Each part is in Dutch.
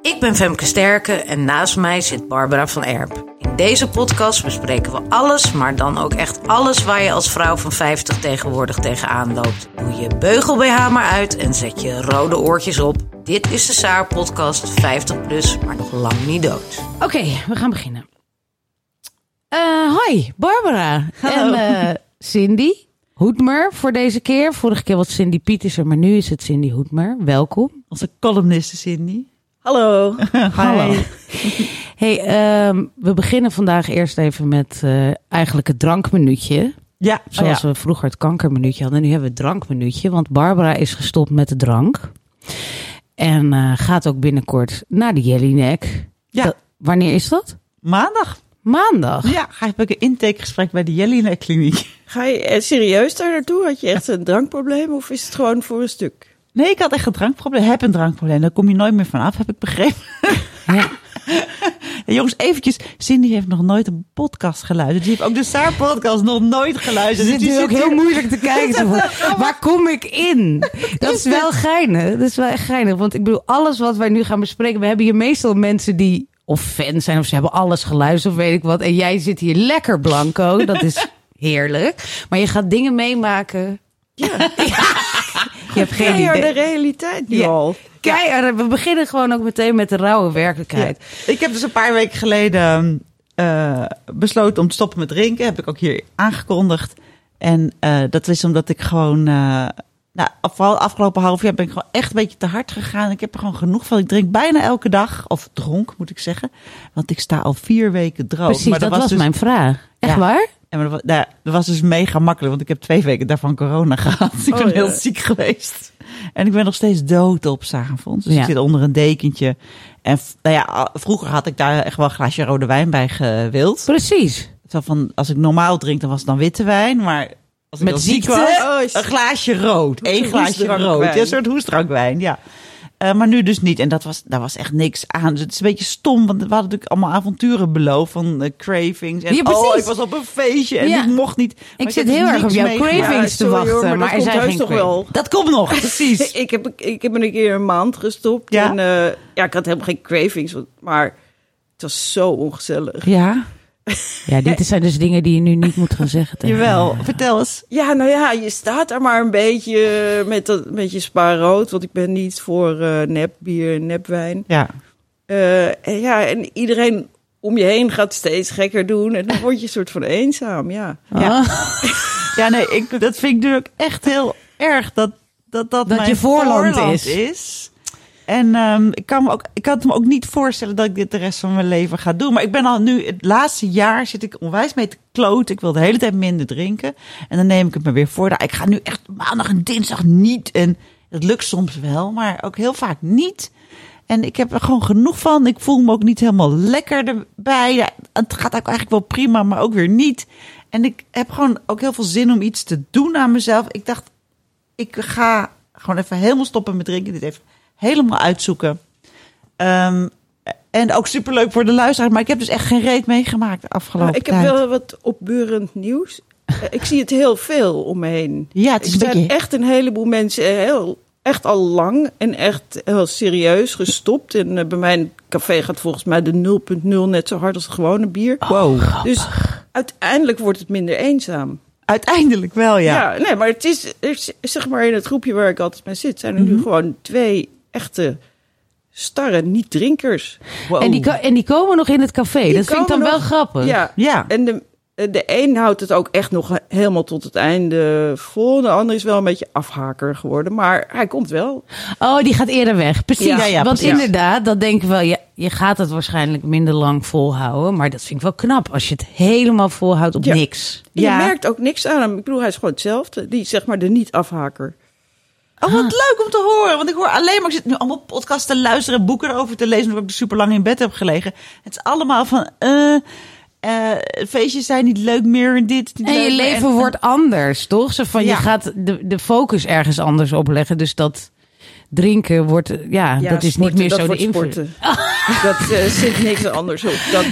Ik ben Femke Sterke en naast mij zit Barbara van Erp. In deze podcast bespreken we alles, maar dan ook echt alles waar je als vrouw van 50 tegenwoordig tegenaan loopt. Doe je beugel BH maar uit en zet je rode oortjes op. Dit is de Saar podcast 50 plus, maar nog lang niet dood. Oké, we gaan beginnen. Eh, hoi, Barbara. Hallo. En eh, Cindy Hoedmer voor deze keer. Vorige keer was Cindy Pietersen, maar nu is het Cindy Hoedmer. Welkom. Onze columniste Cindy. Hallo. Hallo. Hey, ehm, we beginnen vandaag eerst even met eh, eigenlijk het drankminuutje. Oh Ja, Zoals ja. we vroeger het kankerminuutje hadden. Nu hebben we het drankminuutje, want Barbara is gestopt met de drank. En eh, gaat ook binnenkort naar de Jellinek. Ja. Dat- wanneer is dat? maandag Maandag. ja, ga ik een intakegesprek bij de Jellinek Kliniek. Ga je eh, serieus daar naartoe? Had je echt een drankprobleem of is het gewoon voor een stuk? Nee, ik had echt een drankprobleem. Heb een drankprobleem. Daar kom je nooit meer van af, heb ik begrepen. Ja. En jongens, eventjes. Cindy heeft nog nooit een podcast geluisterd. Die heeft ook de Saar-podcast nog nooit geluisterd. Ze zit Dus die nu ook zit heel hier- moeilijk te kijken. Zo van, waar kom ik in? Dat is wel geinig. Dat is wel echt geinig. Want ik bedoel, alles wat wij nu gaan bespreken... We hebben hier meestal mensen die of fan zijn... of ze hebben alles geluisterd of weet ik wat. En jij zit hier lekker blanco. Dat is heerlijk. Maar je gaat dingen meemaken. Ja. Je hebt geen Geen de idee. realiteit nu Ja. al. Keiharde. We beginnen gewoon ook meteen met de rauwe werkelijkheid. Ik heb dus een paar weken geleden eh, besloten om te stoppen met drinken. Heb ik ook hier aangekondigd. En eh, dat is omdat ik gewoon. eh nou, vooral afgelopen half jaar ben ik gewoon echt een beetje te hard gegaan. Ik heb er gewoon genoeg van. Ik drink bijna elke dag. Of dronk, moet ik zeggen. Want ik sta al vier weken droog. Precies, Oh, dat, was, dus, mijn vraag. Echt Ja. waar? En maar dat, was, nou, dat was dus mega makkelijk. Want ik heb twee weken daarvan corona gehad. Ik ben ja. heel ziek geweest. En ik ben nog steeds dood op s'avonds. Dus Ja. ik zit onder een dekentje. En v- nou ja, a- vroeger had ik daar echt wel een glaasje rode wijn bij gewild. Precies. Zo van, als ik normaal drink, dan was het dan witte wijn. Maar als ik Met dan ziek ziekte? was, Oh, is- een glaasje rood. Eén soort glaasje rood. hoestdrankwijn. Ja, een soort hoestdrankwijn, ja. Eh, maar nu dus niet. En dat was, daar was echt niks aan. Dus het is een beetje stom. Want we hadden natuurlijk allemaal avonturen beloofd. Van eh, cravings. En Ja, oh, precies. ik was op een feestje. En Ja. ik mocht niet. Maar Ik heb zit heel dus erg op niks jouw meegemaakt. cravings te sorry wachten. hoor, maar dat maar er komt zijn heus geen toch cravings. wel. Dat komt nog, precies. Ik heb, ik heb een keer een maand gestopt. Ja. En, eh, ja, ik had helemaal geen cravings. want- Maar het was zo ongezellig. ja, Ja, dit zijn dus dingen die je nu niet moet gaan zeggen. tegen jawel. Vertel eens. Ja, nou ja, je staat er maar een beetje met, dat, met je spaarrood. Want ik ben niet voor eh nepbier en nepwijn. Ja. Eh, en ja, en iedereen om je heen gaat steeds gekker doen. En dan word je een soort van eenzaam, ja. Ja. Oh. Ja, nee, ik, dat vind ik natuurlijk echt heel erg. Dat dat, dat, Dat mijn je voorland is. En ehm, ik, kan me ook, ik kan het me ook niet voorstellen dat ik dit de rest van mijn leven ga doen. Maar ik ben al nu, het laatste jaar zit ik onwijs mee te kloten. Ik wil de hele tijd minder drinken. En dan neem ik het me weer voor. Nou, Ik ga nu echt maandag en dinsdag niet. En dat lukt soms wel, maar ook heel vaak niet. En ik heb er gewoon genoeg van. Ik voel me ook niet helemaal lekker erbij. Ja, het gaat ook eigenlijk wel prima, maar ook weer niet. En ik heb gewoon ook heel veel zin om iets te doen aan mezelf. Ik dacht, ik ga gewoon even helemaal stoppen met drinken. Dit even helemaal uitzoeken. Ehm, en ook superleuk voor de luisteraar. Maar ik heb dus echt geen reet meegemaakt de afgelopen Nou, ik heb tijd. wel wat opbeurend nieuws. Eh, Ik zie het heel veel om me heen. Ja, het is er een zijn beetje... echt een heleboel mensen eh, heel, echt al lang en echt heel serieus gestopt. En eh, bij mijn café gaat volgens mij de 0.0 net zo hard als het gewone bier. Wow. dus uiteindelijk wordt het minder eenzaam. Uiteindelijk wel, ja. Ja, nee, maar het is, er is- zeg maar in het groepje waar ik altijd mee zit, zijn er nu gewoon twee echte starre niet-drinkers. Wow. En, die, ko- en die komen nog in het café. dat vind ik dan komen wel nog- grappig. Ja, Ja. Eh, En de, de een houdt het ook echt nog helemaal tot het einde vol. De ander is wel een beetje afhaker geworden. Maar hij komt wel. Oh, die gaat eerder weg. Precies. Ja, ja, Want precies. inderdaad, dat denk ik wel. Ja, je gaat het waarschijnlijk minder lang volhouden. Maar dat vind ik wel knap als je het helemaal volhoudt op Ja. niks. En Ja. Je merkt ook niks aan hem. Ik bedoel, hij is gewoon hetzelfde. Die, zeg maar, de niet-afhaker. Oh, wat leuk om te horen. Want ik hoor alleen maar, ik zit nu allemaal podcasts te luisteren en boeken erover te lezen. Omdat ik super lang in bed heb gelegen. Het is allemaal van, eh, eh, feestjes zijn niet leuk meer en dit. is niet En leuk je meer. leven wordt anders, toch? Zo van, Ja. Je gaat de, de focus ergens anders op leggen. Dus dat drinken wordt, eh, ja, Ja, dat is sporten, niet meer dat zo de wordt invloed. sporten. dat eh, zit niks anders op. Dat,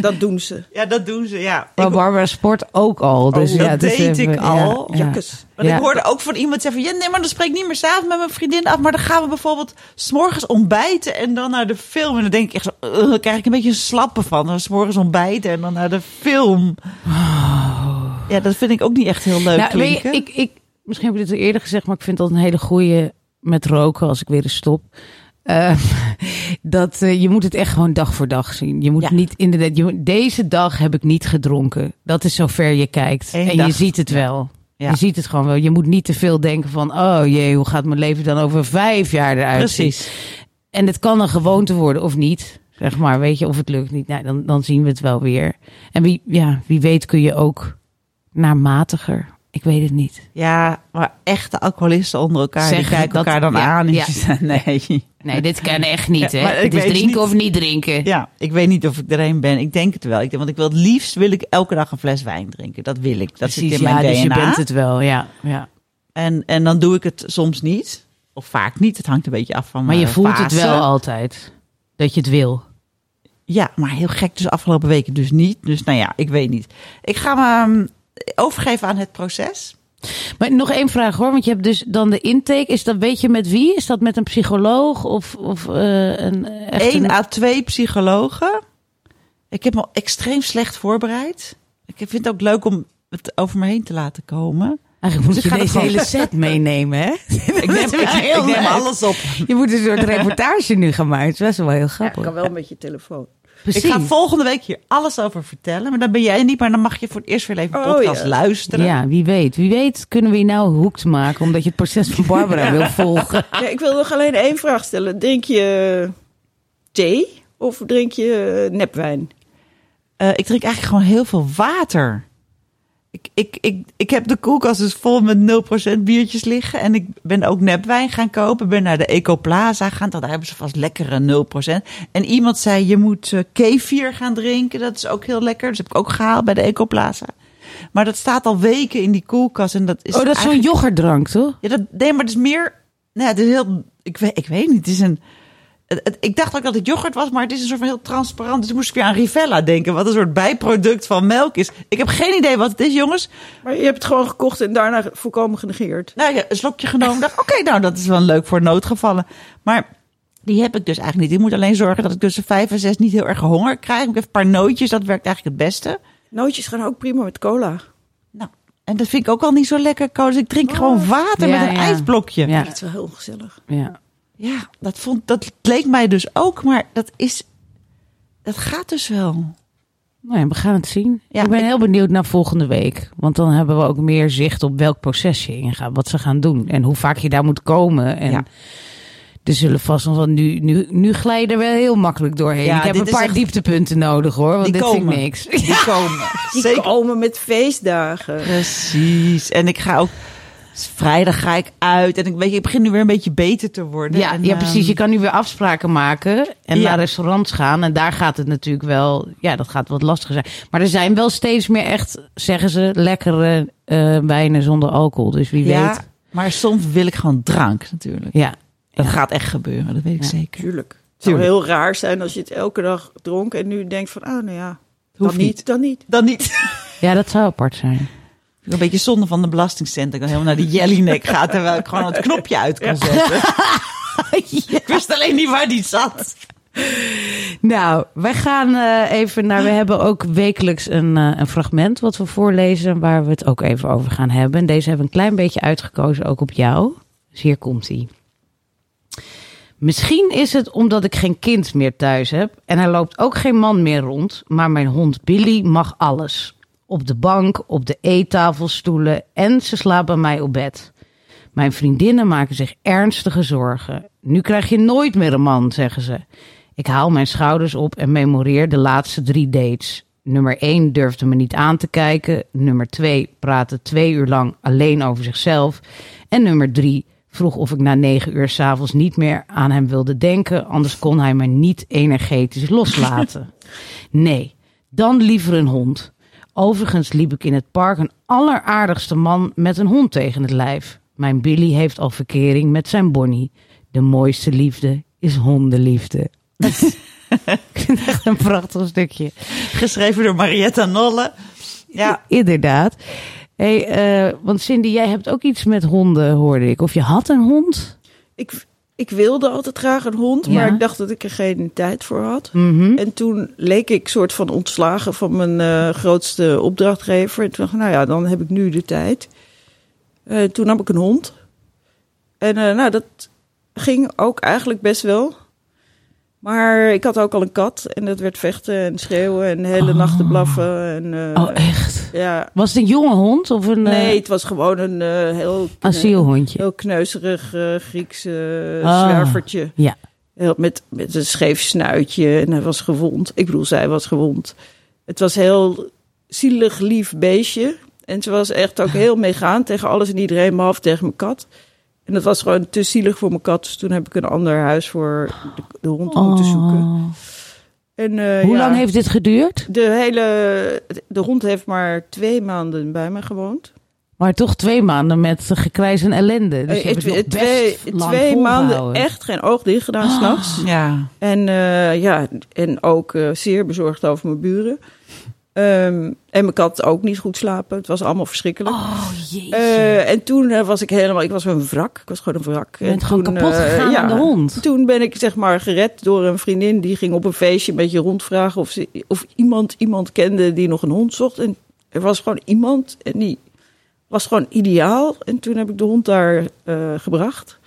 dat doen ze. Ja, dat doen ze, ja. Maar Ik- Barbara sport ook al. Dus Oh, ja, dat het is deed even- ik al. Ja, ja. Jakkes. Want Ja. ik hoorde ook van iemand zeggen van... Ja, nee, maar dan spreek ik niet meer s'avonds met mijn vriendin af. Maar dan gaan we bijvoorbeeld s'morgens ontbijten en dan naar de film. En dan denk ik echt zo... "Ugh," dan krijg ik een beetje een slappe van. Dan s'morgens ontbijten en dan naar de film. Ja, dat vind ik ook niet echt heel leuk Oh. Nou, weet je, klinken. ik, ik, misschien heb ik dit al eerder gezegd, maar ik vind dat een hele goeie met roken als ik weer eens stop. Eh, dat eh, je moet het echt gewoon dag voor dag zien. Je moet Ja. niet inderdaad. Je, moet- deze dag heb ik niet gedronken. Dat is zover je kijkt. Eén en dag. je ziet het wel. Ja. Je ziet het gewoon wel. Je moet niet te veel denken van, oh jee, hoe gaat mijn leven dan over vijf jaar eruit? zien? Precies. En het kan een gewoonte worden of niet. Zeg maar, weet je, of het lukt niet. Nou, dan, dan zien we het wel weer. En wie, ja, wie weet kun je ook naar matiger. Ik weet het niet. Ja, maar echte alcoholisten onder elkaar, die Zeggen kijken dat- elkaar dan ja, aan. en ja. die zeggen, Nee. Nee, dit kan echt niet, Ja, hè? maar ik Het is weet drinken niet. of niet drinken. Ja, ik weet niet of ik er een ben. Ik denk het wel. Ik, denk- want ik wil het liefst wil ik elke dag een fles wijn drinken. Dat wil ik. Dat zit in mijn ja, DNA. dus je bent het wel, ja. ja. En, en dan doe ik het soms niet. Of vaak niet. Het hangt een beetje af van Maar je mijn voelt het fase. wel altijd, dat je het wil. Ja, maar heel gek. Dus afgelopen weken dus niet. Dus nou ja, ik weet niet. Ik ga me ehm, overgeven aan het proces. Maar nog één vraag hoor, want je hebt dus dan de intake. Is dat, weet je met wie? Is dat met een psycholoog of, of eh, een echt Eén een- à twee psychologen. Ik heb me extreem slecht voorbereid. Ik vind het ook leuk om het over me heen te laten komen. Eigenlijk moet Dus je ik ga deze er gewoon- hele set meenemen, hè? Ik neem, ik, ik neem alles op. Je moet een soort reportage nu gaan maken. Het is best wel heel Ja, grappig. kan wel met je telefoon. Precies. Ik ga volgende week hier alles over vertellen. Maar dan ben jij niet, maar dan mag je voor het eerst weer even Oh, podcast ja. luisteren. ja, wie weet. Wie weet kunnen we je nou hoekt maken omdat je het proces van Barbara wil volgen. Nee, ik wil nog alleen één vraag stellen. Drink je thee of drink je nepwijn? Eh, ik drink eigenlijk gewoon heel veel water. Ik, ik, ik, ik heb de koelkast dus vol met 0% biertjes liggen. En ik ben ook nepwijn gaan kopen. Ben naar de Ecoplaza gaan. Daar hebben ze vast lekkere 0%. En iemand zei, je moet eh, kefir gaan drinken. Dat is ook heel lekker. Dus heb ik ook gehaald bij de Ecoplaza. Maar dat staat al weken in die koelkast. En dat is oh, dat is zo'n eigenlijk- yoghurtdrank, toch? ja, dat, nee, maar het is meer. Nou, het is heel. Ik weet, ik weet niet. Het is een. het- het- ik dacht ook dat het yoghurt was, maar het is een soort van heel transparant. Dus toen moest ik weer aan Rivella denken, wat een soort bijproduct van melk is. Ik heb geen idee wat het is, jongens. Maar je hebt het gewoon gekocht en daarna volkomen genegeerd. Nou ja, een slokje genomen. dacht, oké, nou dat is wel leuk voor noodgevallen. Maar die heb ik dus eigenlijk niet. Ik moet alleen zorgen dat ik tussen vijf en zes niet heel erg honger krijg. Ik heb een paar nootjes, dat werkt eigenlijk het beste. Nootjes gaan ook prima met cola. Nou, en dat vind ik ook al niet zo lekker, Koos. Ik drink gewoon water Oh. Ja, met een ja. ijsblokje. Ja, Dat is wel heel ongezellig. ja. Ja, dat, vond, dat leek mij dus ook, maar dat is. Dat gaat dus wel. Nou ja, we gaan het zien. Ja, ik ben ik- heel benieuwd naar volgende week. Want dan hebben we ook meer zicht op welk proces je ingaat. Wat ze gaan doen. En hoe vaak je daar moet komen. En Ja. er zullen vast nog wel... Nu, nu, nu glij je er wel heel makkelijk doorheen. Ja, ik heb dit een is paar echt- dieptepunten nodig hoor. Want Die dit vind komen. ik niks. Die komen. Die komen met feestdagen. Precies. En ik ga ook. Vrijdag ga ik uit. En ik, weet je, ik begin nu weer een beetje beter te worden. Ja, En, ja, ehm, precies. Je kan nu weer afspraken maken en Ja. naar restaurants gaan. En daar gaat het natuurlijk wel, ja, dat gaat wat lastiger zijn. Maar er zijn wel steeds meer echt, zeggen ze, lekkere eh, wijnen zonder alcohol. Dus wie ja, weet. maar soms wil ik gewoon drank natuurlijk. Ja. Dat gaat echt gebeuren, dat weet ik Ja. zeker. Tuurlijk. Het zou Tuurlijk. heel raar zijn als je het elke dag dronk en nu denkt van, ah nou ja, dan Hoeft niet. niet. dan niet. Dan niet. ja, dat zou apart zijn. Een beetje zonde van de belastingcent. dat Ik dan helemaal naar die jellynek ga. Terwijl ik gewoon het knopje uit kan zetten. Ik wist alleen niet waar die zat. Nou, wij gaan eh, even naar. We hebben ook wekelijks een, eh, een fragment wat we voorlezen. Waar we het ook even over gaan hebben. En deze hebben we een klein beetje uitgekozen, ook op jou. Dus hier komt hij. Misschien is het omdat ik geen kind meer thuis heb. En er loopt ook geen man meer rond. Maar mijn hond Billy mag alles: op de bank, op de eettafel, stoelen. En ze slaapt bij mij op bed. Mijn vriendinnen maken zich ernstige zorgen. Nu krijg je nooit meer een man, zeggen ze. Ik haal mijn schouders op en memoreer de laatste drie dates. Nummer 1 durfde me niet aan te kijken. Nummer 2 praatte twee uur lang alleen over zichzelf. En nummer 3 Vroeg of ik na negen uur s'avonds niet meer aan hem wilde denken. Anders kon hij me niet energetisch loslaten. Nee, dan liever een hond. Overigens liep ik in het park een alleraardigste man met een hond tegen het lijf. Mijn Billy heeft al verkering met zijn Bonnie. De mooiste liefde is hondenliefde. ik vind het echt een prachtig stukje. Geschreven door Marietta Nolle. Ja, Inderdaad. Hey, eh, want Cindy, jij hebt ook iets met honden, hoorde ik. Of je had een hond? Ik, ik wilde altijd graag een hond, Ja. maar ik dacht dat ik er geen tijd voor had. Hm? Mhm. En toen leek ik soort van ontslagen van mijn eh, grootste opdrachtgever. En toen dacht ik, nou ja, dan heb ik nu de tijd. Eh, toen nam ik een hond. En eh, nou, dat ging ook eigenlijk best wel. Maar ik had ook al een kat en dat werd vechten en schreeuwen en de hele Oh. nachten blaffen. En, eh, oh, echt? Ja, Was het een jonge hond of een eh, nee, het was gewoon een eh, heel... asielhondje? Heel kneuzerig eh Griekse Ah. zwervertje. Ja. Heel- Met, met een scheef snuitje. En hij was gewond. Ik bedoel, zij was gewond. Het was een heel zielig, lief beestje. En ze was echt Ah. ook heel meegaan tegen alles en iedereen, behalve tegen mijn kat. En dat was gewoon te zielig voor mijn kat. Dus toen heb ik een ander huis voor de, de hond moeten zoeken. Oh. En, eh, Hoe ja, lang heeft dit geduurd? de hele... De hond heeft maar twee maanden bij me gewoond. Maar toch twee maanden met eh, gekrijs en ellende. Dus je Eh, hebt het nog best twee lang twee maanden volgehouden. Ah. echt geen oog dicht gedaan, s'nachts. ja. En eh, ja, en ook eh, zeer bezorgd over mijn buren. Ehm, en mijn kat ook niet goed slapen. Het was allemaal verschrikkelijk. Oh jee. Eh, en toen eh, was ik helemaal, ik was een wrak. Ik was gewoon een wrak. je bent En gewoon toen, kapot eh, gegaan aan de hond. Toen ben ik zeg maar gered door een vriendin die ging op een feestje een beetje rondvragen of, ze, of iemand iemand kende die nog een hond zocht. En er was gewoon iemand en die was gewoon ideaal. En toen heb ik de hond daar eh, gebracht.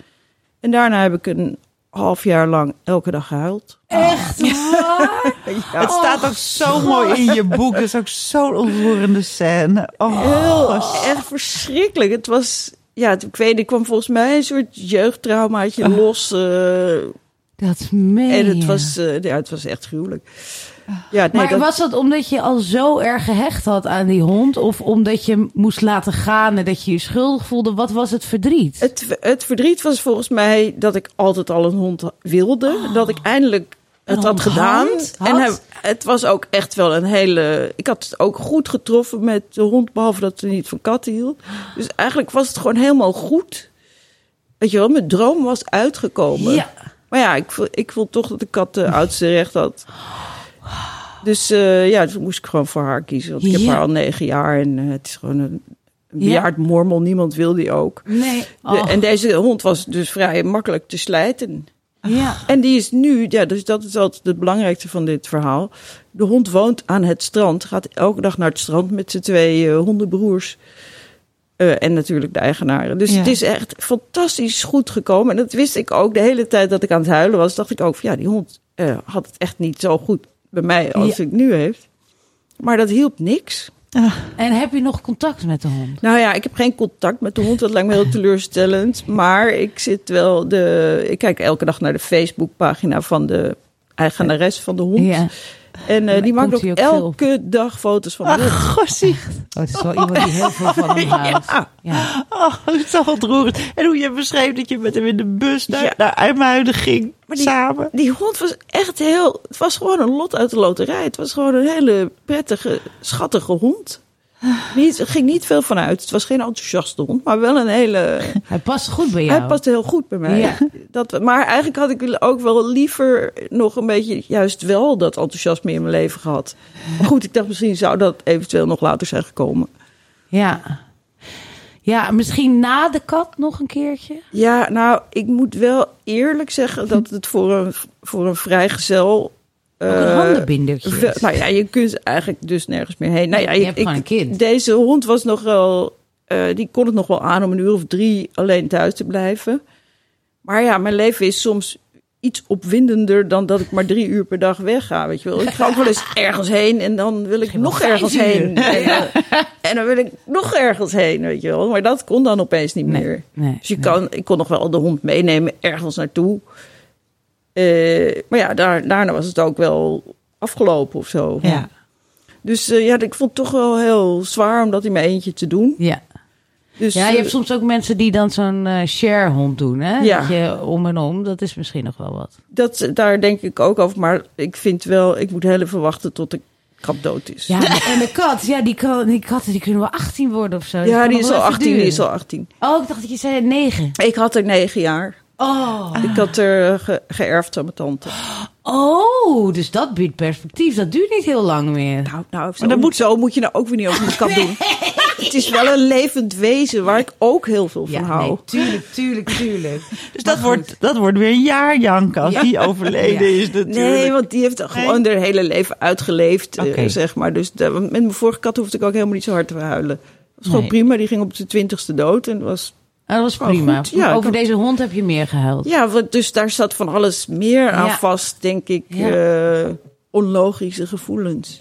En daarna heb ik een half jaar lang elke dag gehuild. Echt waar? Ja. Oh, Het staat ook zo mooi in je boek. Het is ook zo'n ontroerende scène. Oh, heel echt verschrikkelijk. Het was, ja, ik weet, ik kwam volgens mij een soort jeugdtraumaatje los. eh, Dat meen en het je. was, eh, ja, het was echt gruwelijk. Ja, nee, maar dat, was dat omdat je al zo erg gehecht had aan die hond? Of omdat je hem moest laten gaan en dat je je schuldig voelde? Wat was het verdriet? het, het verdriet was volgens mij dat ik altijd al een hond wilde. dat ik eindelijk het Oh. een had hond gedaan. had? En hij- het was ook echt wel een hele... Ik had het ook goed getroffen met de hond, behalve dat ze niet van katten hield. Dus eigenlijk was het gewoon helemaal goed. Weet je wel, mijn droom was uitgekomen. Ja. Maar ja, ik vond, ik vond toch dat de kat de oudste recht had. Dus eh, ja, toen moest ik gewoon voor haar kiezen. Want ik heb Ja. haar al negen jaar en eh, het is gewoon een, een Ja. bejaard mormel. Niemand wil die ook. Nee. De- Oh, en deze hond was dus vrij makkelijk te slijten. ja. En die is nu, ja, dus dat is altijd het belangrijkste van dit verhaal. De hond woont aan het strand, gaat elke dag naar het strand met zijn twee eh, hondenbroers. Eh, en natuurlijk de eigenaren. Dus Ja. het is echt fantastisch goed gekomen. En dat wist ik ook de hele tijd dat ik aan het huilen was. Dacht ik ook van ja, die hond eh, had het echt niet zo goed bij mij als Ja. ik nu heeft. Maar dat hielp niks. En heb je nog contact met de hond? Nou ja, ik heb geen contact met de hond. Dat lijkt me heel teleurstellend. Maar ik zit wel de. Ik kijk elke dag naar de Facebookpagina van de eigenares van de hond. Ja. Oh, En eh, Dan die maakt komt ook, hij ook veel op. elke dag foto's van de hond. gossie. Oh, het is wel iemand die heel veel van hem houdt. Ja. Oh, het is zo ontroerend. En hoe je beschreef dat je met hem in de bus naar, Ja. naar IJmuiden ging. die- samen. Die hond was echt heel. Het was gewoon een lot uit de loterij. Het was gewoon een hele prettige, schattige hond. Niet, er ging niet veel van uit. Het was geen enthousiaste hond, maar wel een hele. Hij past goed bij jou. Hij past heel goed bij mij. Ja. Dat, maar eigenlijk had ik ook wel liever nog een beetje juist wel dat enthousiasme in mijn leven gehad. Maar goed, ik dacht misschien zou dat eventueel nog later zijn gekomen. Ja. Ja, misschien na de kat nog een keertje. Ja, nou, ik moet wel eerlijk zeggen dat het voor een, voor een vrijgezel... Ook een eh, handenbindertje. Wel, nou ja, je kunt eigenlijk dus nergens meer heen. Nou ja, Je ik- hebt ik- gewoon een kind. Deze hond was nog wel, eh, die kon het nog wel aan om een uur of drie alleen thuis te blijven. Maar ja, mijn leven is soms iets opwindender dan dat ik maar drie uur per dag wegga. Weet je wel, ik ga ook wel eens ergens heen en dan wil ik Misschien wel nog vijf ergens uur. heen. En, eh, en dan wil ik nog ergens heen, weet je wel. Maar dat kon dan opeens niet Nee, meer. nee, dus je nee. kan, ik kon nog wel de hond meenemen ergens naartoe. Eh, maar ja, daar, daarna was het ook wel afgelopen of zo. Ja. Dus eh, ja, ik vond het toch wel heel zwaar om dat in mijn eentje te doen. Ja. Dus, Ja, je eh, hebt soms ook mensen die dan zo'n eh, sharehond doen, hè? Ja. Dat je om en om, dat is misschien nog wel wat. dat, daar denk ik ook over. Maar ik vind wel, ik moet heel even wachten tot de kat dood is. Ja, maar- en de kat, ja, die, kan, die katten die kunnen wel 18 worden of zo. Dat Ja, kan die nog is wel al even 18, die duren. is al 18. Oh, ik dacht dat je zei 9. Ik had er negen jaar. Oh. Ik had er eh, ge- geërfd aan mijn tante. oh, dus dat biedt perspectief. Dat duurt niet heel lang meer. Nou, nou, Maar zo, dan moet, moet- zo moet je nou ook weer niet over de kat doen. Het is wel een levend wezen waar ik ook heel veel van hou. nee, tuurlijk, tuurlijk, tuurlijk. Dus dat wordt, dat wordt weer een jaar janken als die overleden is natuurlijk. Nee, want die heeft gewoon haar hele leven uitgeleefd, eh, Oké. zeg maar. Dus de- met mijn vorige kat hoefde ik ook helemaal niet zo hard te huilen. Het was gewoon Nee. prima, die ging op de twintigste dood. En was, Ah, dat was Oh, prima. goed, ja, Over ik- deze hond heb je meer gehuild. ja, want dus daar zat van alles meer aan Ja. vast, denk ik. Ja. eh, onlogische gevoelens.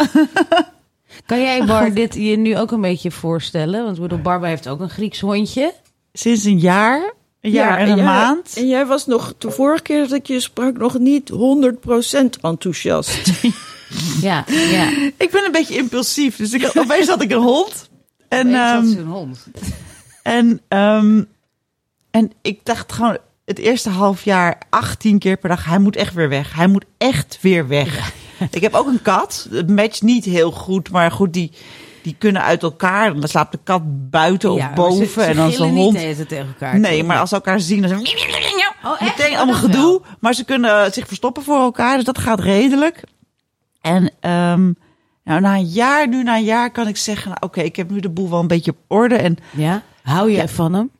Kan jij, Oh. Bar, dit je nu ook een beetje voorstellen? Want ik bedoel, Barbara heeft ook een Grieks hondje. Sinds een jaar, een jaar en een jij- maand. En jij was nog, de vorige keer dat ik je sprak, nog niet 100% enthousiast. Ja, ja. Ik ben een beetje impulsief, dus ik, opeens had ik een hond. En, dat ehm, is een hond. En, ehm, en ik dacht gewoon het eerste half jaar 18 keer per dag, hij moet echt weer weg. Hij moet echt weer weg. Ik heb ook een kat. Het matcht niet heel goed, maar goed, die, die kunnen uit elkaar. Dan slaapt de kat buiten Ja, of maar boven ze- ze en dan is de gillen hond. niet de hele tijd tegen elkaar. Nee, toch? maar als ze elkaar zien, dan zijn Oh, echt? meteen Oh, allemaal dat gedoe. Maar ze kunnen eh, zich verstoppen voor elkaar, dus dat gaat redelijk. En ehm, nou, na een jaar, nu na een jaar, kan ik zeggen, nou, oké, ik heb nu de boel wel een beetje op orde. En Ja? Hou jij van hem?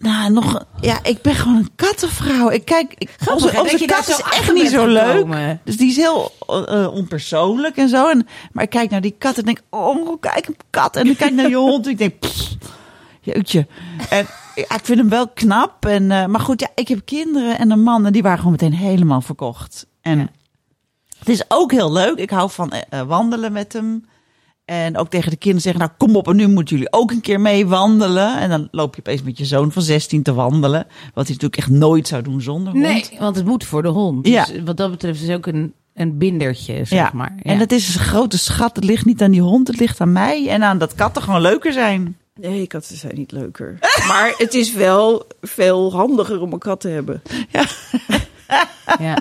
Nou, nog. Ja, ik ben gewoon een kattenvrouw. Ik kijk, ik, hè, onze, dat onze je daar kat zo is echt achter niet bent zo gekomen. leuk. Dus die is heel eh, eh, onpersoonlijk en zo. En, maar ik kijk naar die kat en denk, oh, kijk een kat. En ik kijk naar die hond en ik denk, pff, jeutje. En ja, ik vind hem wel knap. En, eh, maar goed, ja, ik heb kinderen en een man en die waren gewoon meteen helemaal verkocht. En het is ook heel leuk. Ik hou van eh, eh, wandelen met hem. En ook tegen de kinderen zeggen, nou kom op en nu moeten jullie ook een keer mee wandelen. En dan loop je opeens met je zoon van 16 te wandelen. Wat hij natuurlijk echt nooit zou doen zonder hond. want het moet voor de hond. Ja. Dus wat dat betreft is het ook een, een bindertje, zeg Ja. maar. Ja. en dat is dus een grote schat. Het ligt niet aan die hond, het ligt aan mij en aan dat katten gewoon leuker zijn. Nee, katten zijn niet leuker. Maar het is wel veel handiger om een kat te hebben. Ja.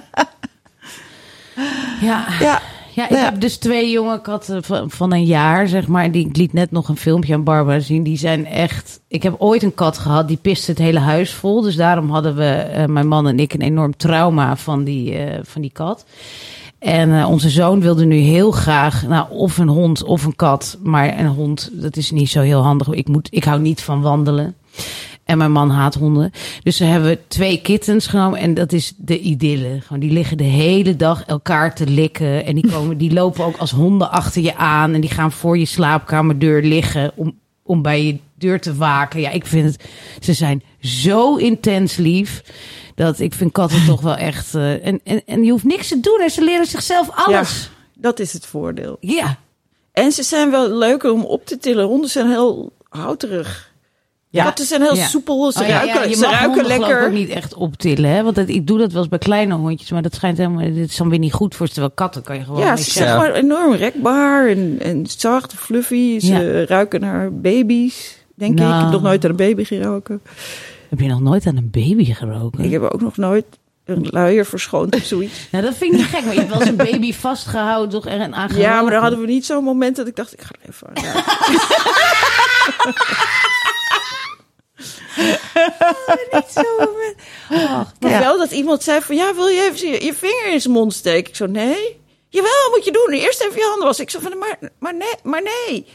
ja. Ja, Ja, ik Ja. heb dus twee jonge katten van, van een jaar, zeg maar. Die, ik liet net nog een filmpje aan Barbara zien. Die zijn echt... Ik heb ooit een kat gehad, die piste het hele huis vol. Dus daarom hadden we, eh, mijn man en ik, een enorm trauma van die, eh, van die kat. En eh, onze zoon wilde nu heel graag, nou, of een hond of een kat. Maar een hond, dat is niet zo heel handig. Ik, moet, ik hou niet van wandelen. En mijn man haat honden. Dus ze hebben twee kittens genomen. En dat is de idylle. Gewoon, die liggen de hele dag elkaar te likken. En die, komen, die lopen ook als honden achter je aan. En die gaan voor je slaapkamerdeur liggen. Om, om bij je deur te waken. Ja, ik vind het. Ze zijn zo intens lief. Dat ik vind katten toch wel echt. eh, en, en, en je hoeft niks te doen. En ze leren zichzelf alles. Ja, dat is het voordeel. Ja. ja. En ze zijn wel leuker om op te tillen. Honden zijn heel houterig. Katten zijn heel Ja. soepel. Ze Oh, ja, ruiken, ja, je ze mag ruiken honden geloof ik lekker. ook niet echt optillen. Hè? Want dat, ik doe dat wel eens bij kleine hondjes. Maar dat schijnt helemaal... Dit is dan weer niet goed voor ze. Terwijl katten kan je gewoon... Ja, mee ze zijn zeggen. gewoon enorm rekbaar en, en zacht, fluffy. Ze Ja. ruiken naar baby's, denk ik. Ik Nou. heb nog nooit aan een baby geroken. Heb je nog nooit aan een baby geroken? Ik heb ook nog nooit een luier verschoond of zoiets. Nou, dat vind ik niet gek. Maar je hebt wel eens een baby vastgehouden toch, en aangeroken. Ja, maar dan hadden we niet zo'n moment dat ik dacht, ik ga er even aan ruiken. niet zo... Och, Maar Ja. wel dat iemand zei van, ja, wil je even je, je vinger in zijn mond steken? Ik zo, nee. Jawel, moet je doen. Eerst even je handen wassen. Ik zo van, maar, maar nee, maar nee.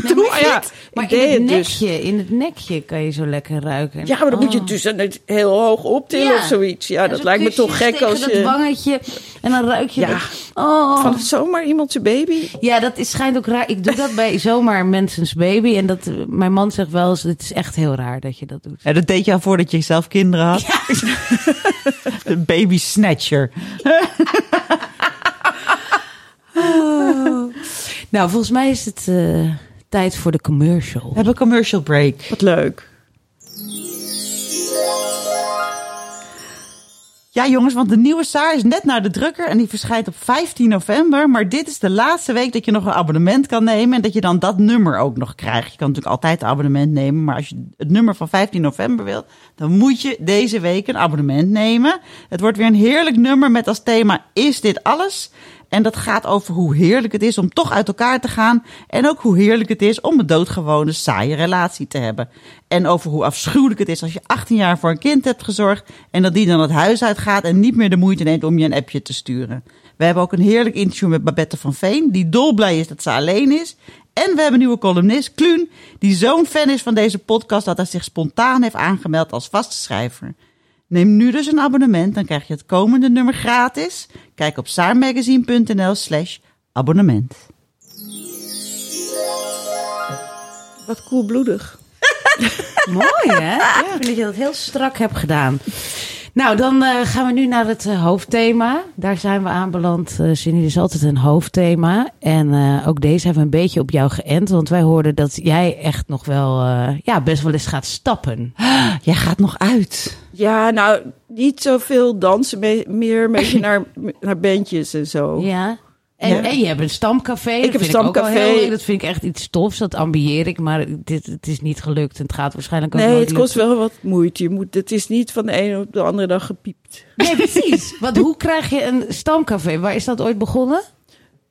Doe maar het. niet. maar Ik in deed het het dus. nekje, in het nekje kan je zo lekker ruiken. Ja, maar dan moet je Oh. het dus aan het heel hoog optillen Ja. of zoiets. Ja, En dat zo lijkt me kusjes toch gek tegen als dat je wangetje en dan ruik je Ja. dat. Oh. van zomaar iemand zijn baby... Ja, dat is, schijnt ook raar. Ik doe dat bij zomaar mensen's baby. En dat, eh, mijn man zegt wel eens, dit is echt heel raar dat je dat doet. Ja, dat deed je al voordat je zelf kinderen had. een baby snatcher. Nou, volgens mij is het eh, tijd voor de commercial. We hebben een commercial break. Wat leuk. Ja, jongens, want de nieuwe Saar is net naar de drukker en die verschijnt op 15 november. Maar dit is de laatste week dat je nog een abonnement kan nemen en dat je dan dat nummer ook nog krijgt. Je kan natuurlijk altijd een abonnement nemen, maar als je het nummer van 15 november wil, dan moet je deze week een abonnement nemen. Het wordt weer een heerlijk nummer met als thema Is dit alles? En dat gaat over hoe heerlijk het is om toch uit elkaar te gaan. En ook hoe heerlijk het is om een doodgewone, saaie relatie te hebben. En over hoe afschuwelijk het is als je 18 jaar voor een kind hebt gezorgd. En dat die dan het huis uitgaat en niet meer de moeite neemt om je een appje te sturen. We hebben ook een heerlijk interview met Babette van Veen, die dolblij is dat ze alleen is. En we hebben een nieuwe columnist, Kluun, die zo'n fan is van deze podcast dat hij zich spontaan heeft aangemeld als vaste schrijver. Neem nu dus een abonnement, dan krijg je het komende nummer gratis. Kijk op saarmagazine.nl slash abonnement. Wat koelbloedig. Mooi, hè? Ik vind dat je dat heel strak hebt gedaan. Nou, dan eh, gaan we nu naar het eh, hoofdthema. Daar zijn we aanbeland. Eh Cindy, is altijd een hoofdthema. En eh, ook deze hebben we een beetje op jou geënt. Want wij hoorden dat jij echt nog wel, eh, ja, best wel eens gaat stappen. Jij gaat nog uit. Ja, nou, niet zoveel dansen, me- meer een beetje naar, naar bandjes en zo. Oh. Ja. En, Ja. en je hebt een stamcafé. Ik heb een Ik ook stamcafé. al heel leuk. dat vind ik echt iets tofs. Dat ambieer ik. Maar dit, het is niet gelukt. En het gaat waarschijnlijk ook Nee, nooit het kost lukken. wel wat moeite. Je moet, het is niet van de ene op de andere dag gepiept. Nee, precies. Want hoe krijg je een stamcafé? Waar is dat ooit begonnen?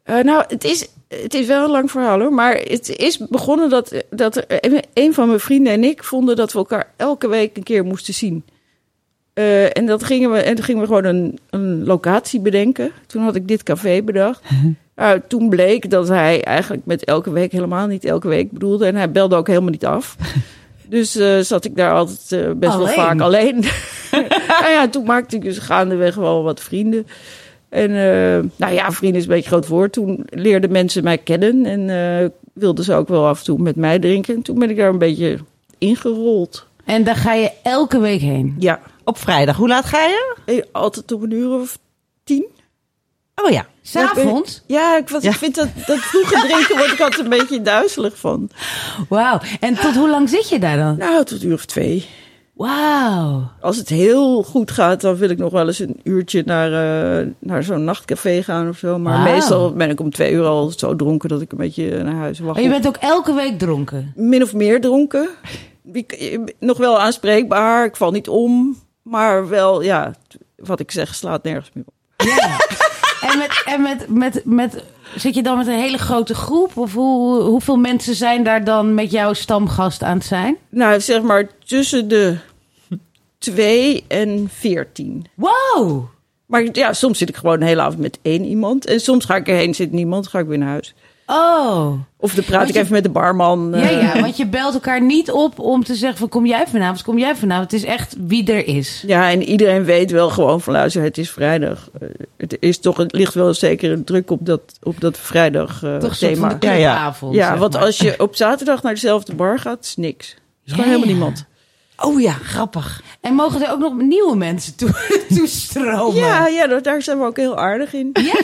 Eh, nou, het is, het is wel een lang verhaal hoor. Maar het is begonnen dat, dat er- een- een van mijn vrienden en ik vonden dat we elkaar elke week een keer moesten zien. Eh, en, dat gingen we, en toen gingen we gewoon een, een locatie bedenken. Toen had ik dit café bedacht. Nou, toen bleek dat hij eigenlijk met elke week helemaal niet elke week bedoelde. En hij belde ook helemaal niet af. Dus eh, zat ik daar altijd eh, best Alleen. wel vaak alleen. nou ja, toen maakte ik dus gaandeweg wel wat vrienden. En eh, nou ja, vrienden is een beetje een groot woord. Toen leerden mensen mij kennen en eh, wilden ze ook wel af en toe met mij drinken. En toen ben ik daar een beetje ingerold. En daar ga je elke week heen. Ja, Op vrijdag. Hoe laat ga je? eh, altijd op een uur of tien. Oh ja. S'avonds? Ja, ik, was, Ja. ik vind dat, dat vroege drinken word ik altijd een beetje duizelig van. Wauw. En tot hoe lang zit je daar dan? Nou, tot een uur of twee. Wauw. Als het heel goed gaat, dan wil ik nog wel eens een uurtje naar, eh, naar zo'n nachtcafé gaan of zo. Maar Wauw. meestal ben ik om twee uur al zo dronken dat ik een beetje naar huis wacht. Maar je bent ook elke week dronken. min of meer dronken. Ik- eh, Nog wel aanspreekbaar, ik val niet om. Maar wel, ja, wat ik zeg slaat nergens meer op. En, met, en met, met, met, zit je dan met een hele grote groep? Of hoe, hoeveel mensen zijn daar dan met jouw stamgast aan het zijn? Nou, zeg maar tussen de 2 en 14. Wow. Maar ja, soms zit ik gewoon de hele avond met één iemand. En soms ga ik erheen, zit niemand, ga ik weer naar huis. Oh. Of dan praat Want ik je- even met de barman. Ja, eh. ja, want je belt elkaar niet op om te zeggen van kom jij vanavond, kom jij vanavond. Het is echt wie er is. Ja, en iedereen weet wel gewoon van luister, het is vrijdag. Eh, Het, is toch, het ligt wel zeker een druk op dat, op dat vrijdag eh, Toch een soort van thema. de Ja, ja. clubavond. Ja, zeg want maar. als je op zaterdag naar dezelfde bar gaat, is niks. Is gewoon Ja, helemaal ja. niemand. Oh ja, grappig. En mogen er ook nog nieuwe mensen toe, toestromen? Ja, ja, daar- daar zijn we ook heel aardig in. Ja, iedereen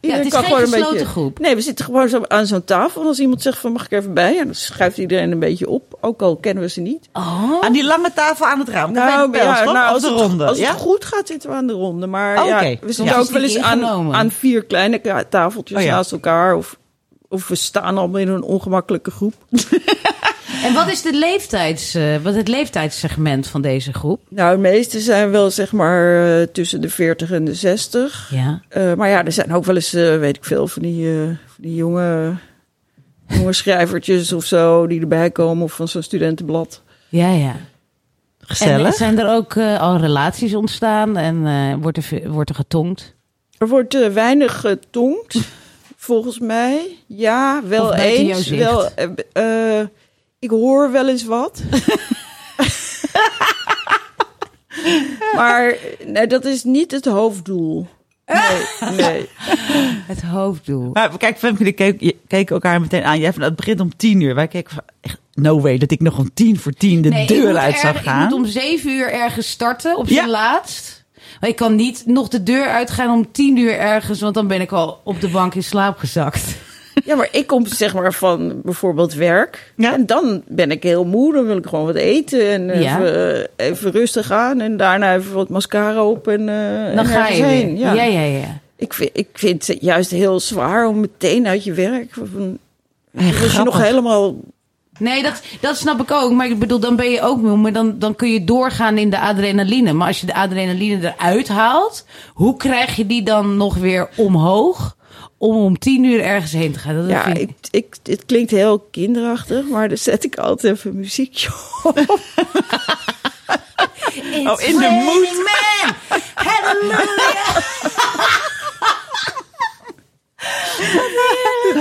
Ja, het is geen gesloten groep. Nee, we zitten gewoon zo aan zo'n tafel. En als iemand zegt van mag ik er even bij, ja, dan schuift iedereen een beetje op. Ook al kennen we ze niet. Oh. Aan die lange tafel aan het raam. Nou, bij de pijl, ja, toch? nou, Of als, de het, ronde. als het ja? goed gaat zitten we aan de ronde. Maar Oh, ja, oké. we Ja. zitten ook wel eens aan, Ingenomen. aan vier kleine ka- tafeltjes Oh, ja. naast elkaar. Of, of we staan allemaal in een ongemakkelijke groep. En wat is de leeftijds, eh, wat het leeftijdssegment van deze groep? Nou, de meeste zijn wel zeg maar eh, tussen de 40 en de 60. Ja. Eh, maar ja, er zijn ook wel eens, eh, weet ik veel, van die, eh, van die jonge, jonge schrijvertjes of zo die erbij komen. Of van zo'n studentenblad. Ja, ja. En Gezellig. zijn er ook eh, al relaties ontstaan en eh, wordt, er, ve- wordt er getongd? Er wordt eh, weinig getongd, volgens mij. Ja, Of wel buiten jouw eens. zicht. Wel, eh, eh, ik hoor wel eens wat. maar nee, dat is niet het hoofddoel. Nee, nee. Het hoofddoel. Maar kijk, Femke, die keek- je- keken elkaar meteen aan. Jij van, het begint om tien uur. Wij keken van, echt, no way dat ik nog om tien voor tien de Nee, ik moet deur uit zou erg- gaan. Ik moet om zeven uur ergens starten, op Ja. zijn laatst. Maar ik kan niet nog de deur uitgaan om tien uur ergens, want dan ben ik al op de bank in slaap gezakt. Ja, maar ik kom zeg maar van bijvoorbeeld werk. Ja. En dan ben ik heel moe. Dan wil ik gewoon wat eten en even, Ja. eh, even rustig aan. En daarna even wat mascara op en eh, en Dan ga ergens je heen. weer. Ja. Ja, ja, ja. Ik, vind, ik vind het juist heel zwaar om meteen uit je werk... Van, Eh, als je nog grappig. helemaal... Nee, dat, dat snap ik ook. Maar ik bedoel, dan ben je ook moe. Maar dan, dan kun je doorgaan in de adrenaline. Maar als je de adrenaline eruit haalt, hoe krijg je die dan nog weer omhoog? Om om tien uur ergens heen te gaan. Dat Ja, vind ik, ik, het klinkt heel kinderachtig, maar dan zet ik altijd even muziekje op. Oh, in de moed. Man, hallelujah.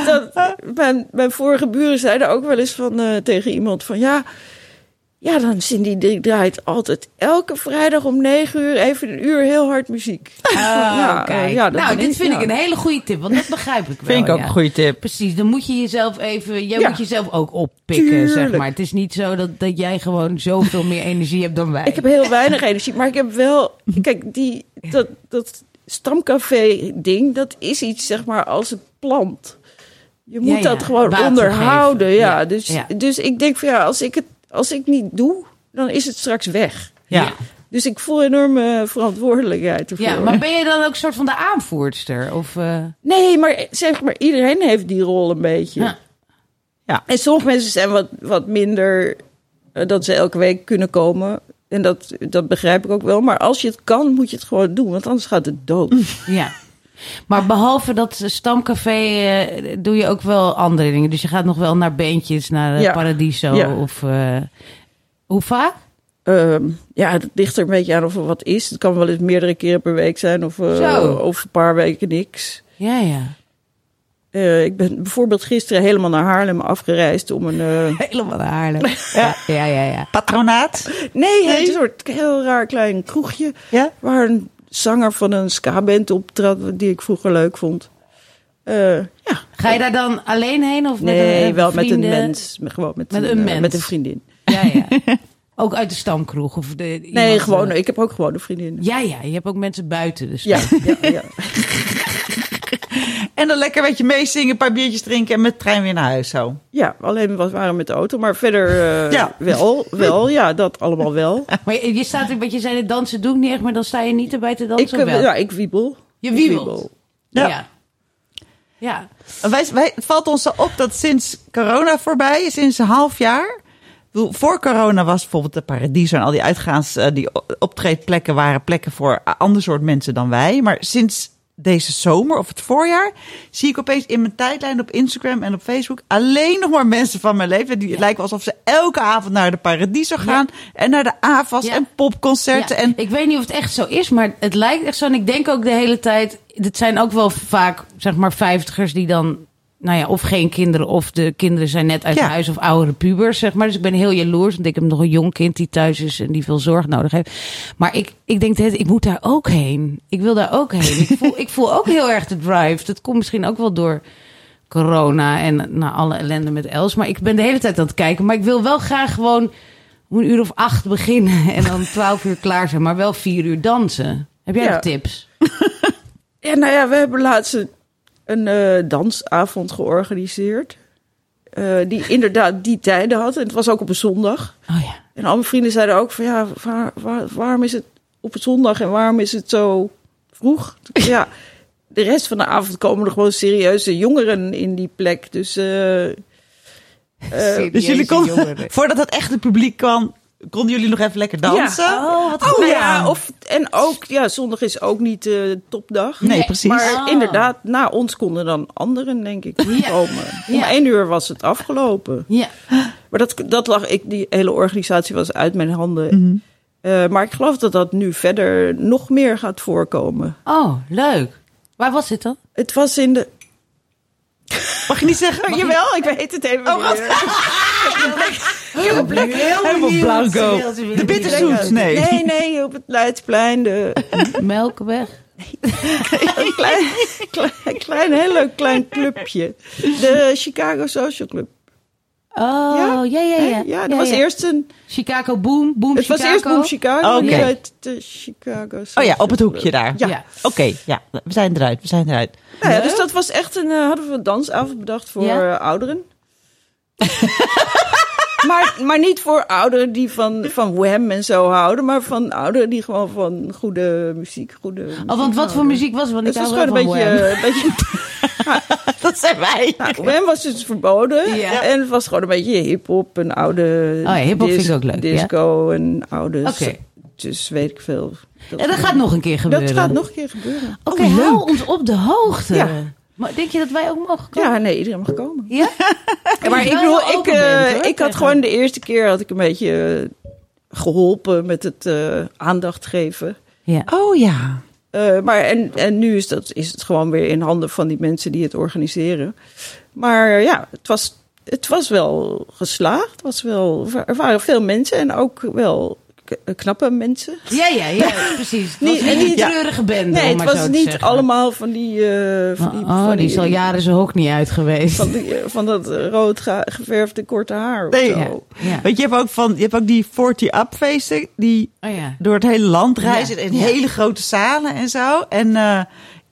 dat, mijn, mijn vorige buren zeiden ook wel eens van, eh, tegen iemand van ja. Ja, dan Cindy die draait altijd elke vrijdag om negen uur even een uur heel hard muziek. ja, ja, eh, ja, dat Oh, nou, ben dit vind ja. ik een hele goede tip, want dat begrijp ik wel. Vind ik ook Oh, ja. een goede tip. Precies, dan moet je jezelf even, jij Ja. moet jezelf ook oppikken, zeg Tuurlijk. maar. Het is niet zo dat, dat jij gewoon zoveel meer energie hebt dan wij. Ik heb heel weinig energie, maar ik heb wel... Kijk, die, dat, dat stamcafé-ding, dat is iets zeg maar als een plant. Je moet Ja, ja, dat gewoon water onderhouden. geven. Ja, Ja, dus, ja. dus ik denk van ja, als ik het als ik niet doe, dan is het straks weg. Ja. Dus ik voel enorme verantwoordelijkheid ervoor. Ja, maar ben je dan ook soort van de aanvoerster? Of, eh, Nee, maar zeg maar, iedereen heeft die rol een beetje. Ja. Ja. En sommige mensen zijn wat, wat minder eh, dat ze elke week kunnen komen. En dat, dat begrijp ik ook wel. Maar als je het kan, moet je het gewoon doen. Want anders gaat het dood. ja. Maar behalve dat stamcafé eh, doe je ook wel andere dingen. Dus je gaat nog wel naar bandjes, naar eh, Ja. Paradiso Ja. of... eh, hoe vaak? Ehm, ja, het ligt er een beetje aan of er wat is. Het kan wel eens meerdere keren per week zijn. Of, eh, Zo. of een paar weken niks. Ja, ja. Eh, ik ben bijvoorbeeld gisteren helemaal naar Haarlem afgereisd om een... eh, Helemaal naar Haarlem. Ja, ja, ja. ja. Patronaat. Nee, een soort heel raar klein kroegje. Ja? Waar een zanger van een ska-band optrad, die ik vroeger leuk vond. Eh, ja, Ga je daar dan alleen heen? Of met nee, een, eh, wel met vrienden? een mens. met- Gewoon met, Met een, een eh, mens. Met een vriendin. Ja, ja. Ook uit de stamkroeg? Of de, Nee, iemand, gewoon, eh, ik heb ook gewoon een vriendin. Ja, ja. Je hebt ook mensen buiten dus. de stam. Ja, ja, ja. En dan lekker een beetje meezingen, een paar biertjes drinken en met de trein weer naar huis zo. ja alleen we waren met de auto. Maar verder eh, Ja. wel, wel, ja, dat allemaal wel. Maar je, je staat er, wat je zei, het dansen doe ik niet echt, maar dan sta je niet erbij te dansen Ik, of eh, wel? ja, ik wiebel. Je Ik wiebelt. Ja. Ja. Ja. En Wij, wij, het valt ons zo op dat sinds corona voorbij is, sinds een half jaar. Ik bedoel, Voor corona was bijvoorbeeld de Paradiso en al die uitgaans, eh, die o- optreedplekken waren plekken voor a- ander soort mensen dan wij. Maar sinds deze zomer of het voorjaar zie ik opeens in mijn tijdlijn op Instagram en op Facebook alleen nog maar mensen van mijn leven. Die het lijken alsof ze elke avond naar de Paradiso gaan en naar de AFAS Ja. en popconcerten. Ja, En Ik weet niet of het echt zo is, maar het lijkt echt zo. En ik denk ook de hele tijd. Dit zijn ook wel vaak, zeg maar, vijftigers die dan. Nou ja, of geen kinderen, of de kinderen zijn net uit Ja. huis, of oudere pubers, zeg maar. Dus ik ben heel jaloers, want ik heb nog een jong kind die thuis is en die veel zorg nodig heeft. Maar ik, ik denk, de hele tijd, ik moet daar ook heen. Ik wil daar ook heen. Ik voel, ik voel ook heel erg de drive. Dat komt misschien ook wel door corona en nou, alle ellende met Els. Maar ik ben de hele tijd aan het kijken. Maar ik wil wel graag gewoon om een uur of acht beginnen en dan twaalf uur klaar zijn, maar wel vier uur dansen. Heb jij Ja. nog tips? Ja, nou ja, we hebben laatst een, een, eh, dansavond georganiseerd. Eh, die inderdaad die tijden had. En het was ook op een zondag. Oh ja. En al mijn vrienden zeiden ook van ja, waar- waar- waarom is het op een zondag en waarom is het zo vroeg? Ja, de rest van de avond komen er gewoon serieuze jongeren in die plek. Dus eh, dus jullie konden, voordat het echte publiek kwam, konden jullie nog even lekker dansen. Ja. Oh, wat nou goed. ja, of, en ook, ja, zondag is ook niet de topdag. Nee, precies. Maar Ah. inderdaad, na ons konden dan anderen, denk ik, Ja. komen. Om Ja. één uur was het afgelopen. Ja. Maar dat, dat lag ik, die hele organisatie was uit mijn handen. Mhm. Eh, maar ik geloof dat dat nu verder nog meer gaat voorkomen. Oh, leuk. Waar was dit dan? Het was in de. Mag Oh, je niet zeggen? Jawel. Oh, Jawel, ik weet het even. niet meer. Ah, Heel blik, Helemaal blanco. De bitterzoet, nee. Nee, nee, op het Leidsplein. De, Melkweg. een klein, klein, klein, heel leuk klein clubje. De Chicago Social Club. Oh, ja, ja, ja. Hè? ja. dat was eerst een... Chicago Boom, Boom Het was Chicago. eerst Boom Chicago. Oh, Oké. nu heet het, eh, Chicago Oh ja, Social op het hoekje Club. daar. Ja. Ja. Oké, ja. We zijn eruit, we zijn eruit. Nou ja, dus dat was echt een... eh, hadden we een dansavond bedacht voor Ja. eh, ouderen. maar, maar niet voor ouderen die van, van Wham en zo houden. Maar van ouderen die gewoon van goede muziek, goede Oh, want wat voor muziek was het? Want Het ik was hou gewoon wel een van beetje... Wham. Een beetje Dat zijn wij. Nou, Wham was dus verboden. Ja. En het was gewoon een beetje hip-hop en oude. Oh ja, hiphop vind ik ook leuk, ja. Disco en oude. Oké. Dus weet ik veel. Dat, En dat gaat nog een keer gebeuren. eh, dat gaat nog een keer gebeuren. Oh, Oké, hou ons op de hoogte. Ja. Maar denk je dat wij ook mogen komen? Ja, nee, iedereen mag komen. Ja? Ja, maar ik Wel bedoel, open ik, bent, eh, hoor, ik had tegen- gewoon de eerste keer had ik een beetje eh, geholpen met het eh, aandacht geven. Ja. Oh ja. Eh, maar en, en nu is, dat, is het gewoon weer in handen van die mensen die het organiseren. Maar ja, het was, het was wel geslaagd. Het was wel, er waren veel mensen en ook wel k- eh, knappe mensen. Ja, ja, ja, precies. Het was Niet- niet een niet- ja. treurige bende, om Nee, het maar zo was te niet zeggen. allemaal van die... eh, van die, Oh, van die is al jaren zijn hok niet uit geweest. Van, die, eh, van dat eh, rood ge- geverfde korte haar. of Nee. zo. ja. Ja. Weet je, je hebt ook, van, je hebt ook die 40-up feesten die Oh ja. door het hele land reizen Ja. in hele grote zalen en zo. En eh,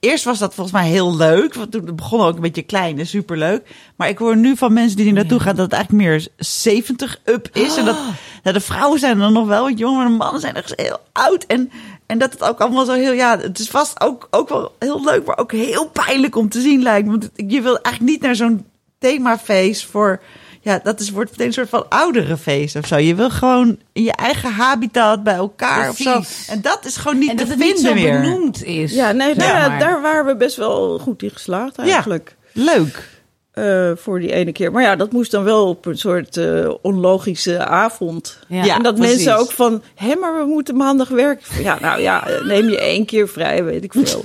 eerst was dat volgens mij heel leuk, want toen het begon ook een beetje klein en superleuk. Maar ik hoor nu van mensen die er naartoe gaan dat het eigenlijk meer 70-up is. En dat Ah. nou, de vrouwen zijn er nog wel wat jong, maar de mannen zijn echt heel oud. En, en dat het ook allemaal zo heel, ja, het is vast ook, ook wel heel leuk, maar ook heel pijnlijk om te zien lijkt. me. Want het- je wil eigenlijk niet naar zo'n themafeest voor... Ja, dat is, wordt meteen een soort van ouderenfeest of zo. Je wil gewoon in je eigen habitat bij elkaar of Precies. zo. En dat is gewoon niet En te dat het niet vinden zo meer. benoemd is. Ja, nee, zeg nou ja, maar. daar waren we best wel goed in geslaagd eigenlijk. Leuk. eh, voor die ene keer. Maar ja, dat moest dan wel op een soort eh, onlogische avond. Ja. Ja, en dat precies. mensen ook van, hé, maar we moeten maandag werken. Ja, nou ja, eh, neem je één keer vrij, weet ik veel.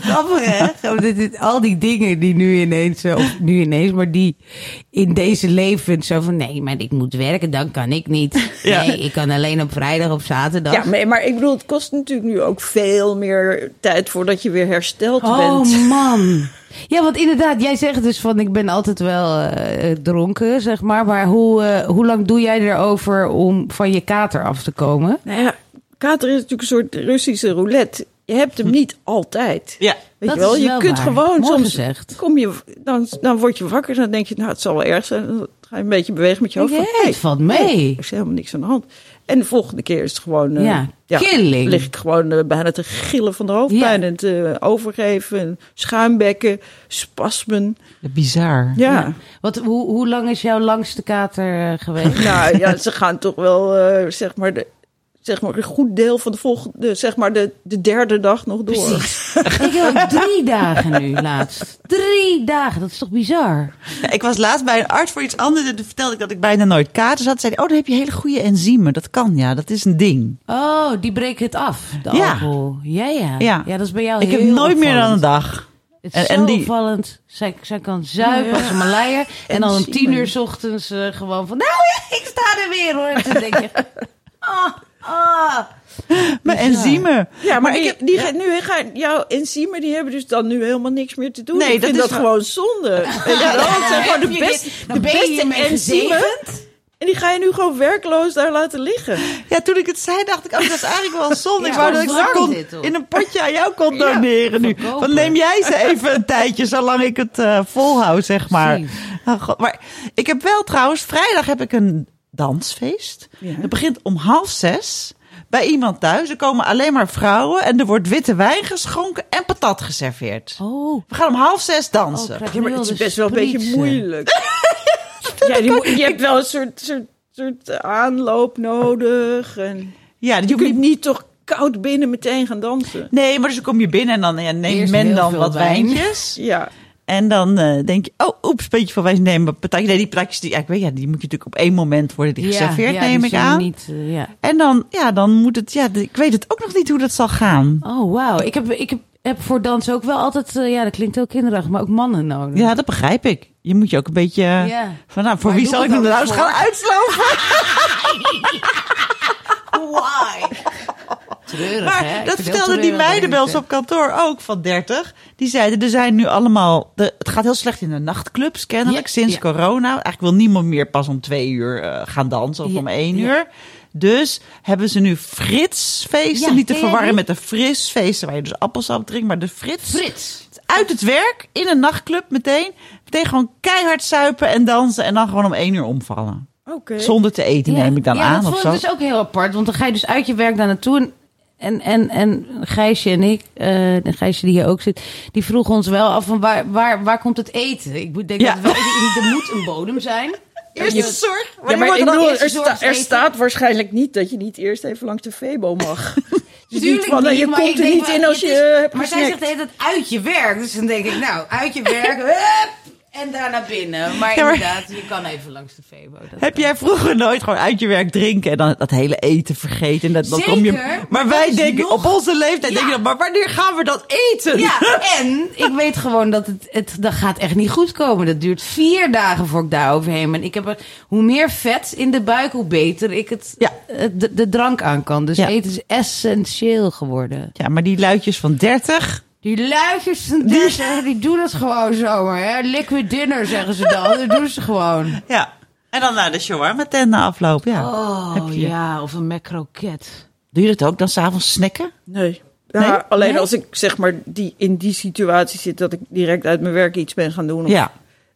Grappig, hè? Zo, Oh, dit- dit- al die dingen die nu ineens, eh, of nu ineens, maar die in deze leven zo van... Nee, maar ik moet werken, dan kan ik niet. Ja. Nee, ik kan alleen op vrijdag, op zaterdag. ja, nee, maar ik bedoel, het kost natuurlijk nu ook veel meer tijd voordat je weer hersteld Oh bent. man. Ja, want inderdaad, jij zegt dus van ik ben altijd wel eh, dronken, zeg maar. Maar hoe, eh, hoe lang doe jij erover om van je kater af te komen? Nou ja, kater is natuurlijk een soort Russische roulette. Je hebt hem niet altijd. Ja. Weet Dat je wel, is je wel kunt waar. gewoon Mooi soms. gezegd. Kom je, dan, dan word je wakker en dan denk je, nou, het zal wel erg zijn. Dan ga je een beetje bewegen met je Denk hoofd. je, van, hé, het valt mee. nee, er is helemaal niks aan de hand. En de volgende keer is het gewoon. eh, Ja, killing. Lig ik gewoon eh, bijna te gillen van de hoofdpijn Ja. en te overgeven. En schuimbekken, spasmen. Bizar. Ja. Wat, hoe, hoe lang is jouw langste kater eh, geweest? Nou ja, ze gaan toch wel, eh, zeg maar. De, Zeg maar een goed deel van de volgende, zeg maar de, de derde dag nog door. ik heb ook drie dagen nu laatst. Drie dagen, dat is toch bizar? Ik was laatst bij een arts voor iets anders en toen vertelde ik dat ik bijna nooit katers had. Zei die, oh, dan heb je hele goede enzymen. Dat kan, ja. Dat is een ding. Oh, die breken het af, de Ja. alcohol. Ja, ja. Ja. dat is bij jou ik Oh, heel heb nooit meer dan een opvallend. dag. Het En- is en zo die- opvallend. Zij, zij kan zuipen als een maleier. En dan om Enzymen. tien uur 's ochtends eh, gewoon van... Nou ja, ik sta er weer hoor. En toen denk je... Ah, ah. Mijn enzymen. Ja, maar, ik die, heb- die gaan nu, gaan, jouw enzymen die hebben dus dan nu helemaal niks meer te doen. Nee, Nee, ik dat vind is dat wel- gewoon zonde. Weet je wel? Het zijn Heb gewoon de, je best, dit- de dan ben je beste hiermee enzymen. gezegend? En die ga je nu gewoon werkloos daar laten liggen. Ja, toen ik het zei, dacht ik, oh, dat is eigenlijk wel zonde. Ja, ik wou dat ik wat ze warm kon, dit, hoor. in een potje aan jou kon doneren nu. verkopen. Want neem jij ze even een tijdje, zolang ik het eh, volhoud, zeg maar. Precies. Ah, God, maar ik heb wel trouwens, vrijdag heb ik een dansfeest. Ja. Het begint om half zes bij iemand thuis. Er komen alleen maar vrouwen en er wordt witte wijn geschonken en patat geserveerd. Oh. We gaan om half zes dansen. krijg Ja, maar nu het al is de best wel een beetje sprietsen. moeilijk. ja, die mo- je hebt wel een soort, soort, soort aanloop nodig. En ja, dat je kunt niet toch koud binnen meteen gaan dansen. Nee, maar dus dan kom je binnen en dan ja, neemt Eerst men heel dan veel wat wijn. wijntjes. Ja, En dan eh, denk je, oh, oeps, beetje van wijs nemen. Patatje. Nee, die patatjes, die, ja, ik weet, ja, die moet je natuurlijk op één moment worden die geserveerd, ja, die neem ik zijn aan. Niet, eh, ja. En dan, ja, dan moet het, ja, de- ik weet het ook nog niet hoe dat zal gaan. Oh, wauw. Ik heb, ik heb, heb voor dans ook wel altijd... eh, ja, dat klinkt heel kinderachtig, maar ook mannen nodig. Ja, dat begrijp ik. Je moet je ook een beetje, eh, Ja. van nou, voor Maar wie doe zal ik het me dan nou eens voor? gaan uitsloven? Why? Treurig, hè? Maar Ik dat vind het heel vertelden die treurig, meiden bij ons mensen. op kantoor ook van 30. Die zeiden, er zijn nu allemaal... De, het gaat heel slecht in de nachtclubs, kennelijk, Ja, sinds ja. corona. Eigenlijk wil niemand meer pas om twee uur eh, gaan dansen of Ja, om één ja. uur. Dus hebben ze nu fritsfeesten. Ja, niet te ken jij verwarren die? met de frisfeesten, waar je dus appelsap drinkt. Maar de frits, Frits. uit het werk, in een nachtclub meteen. Meteen gewoon keihard suipen en dansen. En dan gewoon om één uur omvallen. Oké. Zonder te eten Eh, Ja. neem ik dan ja, dat aan of vond zo. ik dus ook heel apart. Want dan ga je dus uit je werk daar naartoe. En, en, en, en Gijsje en ik, eh de Gijsje die hier ook zit, die vroeg ons wel af van waar, waar, waar komt het eten? Ik moet- denk Ja. dat we- er moet een bodem zijn. Dus- Eerst de zorg. Ja, maar ik dan bedoel, eerst er, de zorg sta- er eten? staat waarschijnlijk niet dat je niet eerst even langs de Febo mag. Dus Tuurlijk niet van, eh, je maar komt ik er denk niet wel, in als je het eh, is- hebt Maar zij zegt gesnackt. de hele tijd uit je werk. Dus dan denk ik, nou, uit je werk, hup, en daarna binnen. Maar Ja, maar- inderdaad, je kan even langs de Febo. Dat Heb jij vroeger nooit gewoon uit je werk drinken en dan dat hele eten vergeten? En dat, dan kom je, Zeker, maar, maar dat wij is denken, nog- op onze leeftijd Ja. denk je dan, maar wanneer gaan we dat eten? Ja, en ik weet gewoon dat het, het dat gaat echt niet goed komen. Dat duurt vier dagen voor ik daar overheen ben. Ik heb er, hoe meer vet in de buik, hoe beter ik het, Ja. het- de, de drank aan kan. Dus Ja. eten is essentieel geworden. Ja, maar die luidjes van 30. Die luidjes van dertig, die doen het gewoon zomaar. Hè? Liquid dinner zeggen ze dan. Dat doen ze gewoon. Ja. En dan naar de shawarma tent na afloop. Ja. Oh Heb je- ja, of een macroket. Doe je dat ook dan s'avonds snacken? Nee. Ja, Nee? alleen Nee? als ik zeg maar die, in die situatie zit dat ik direct uit mijn werk iets ben gaan doen. of, Ja.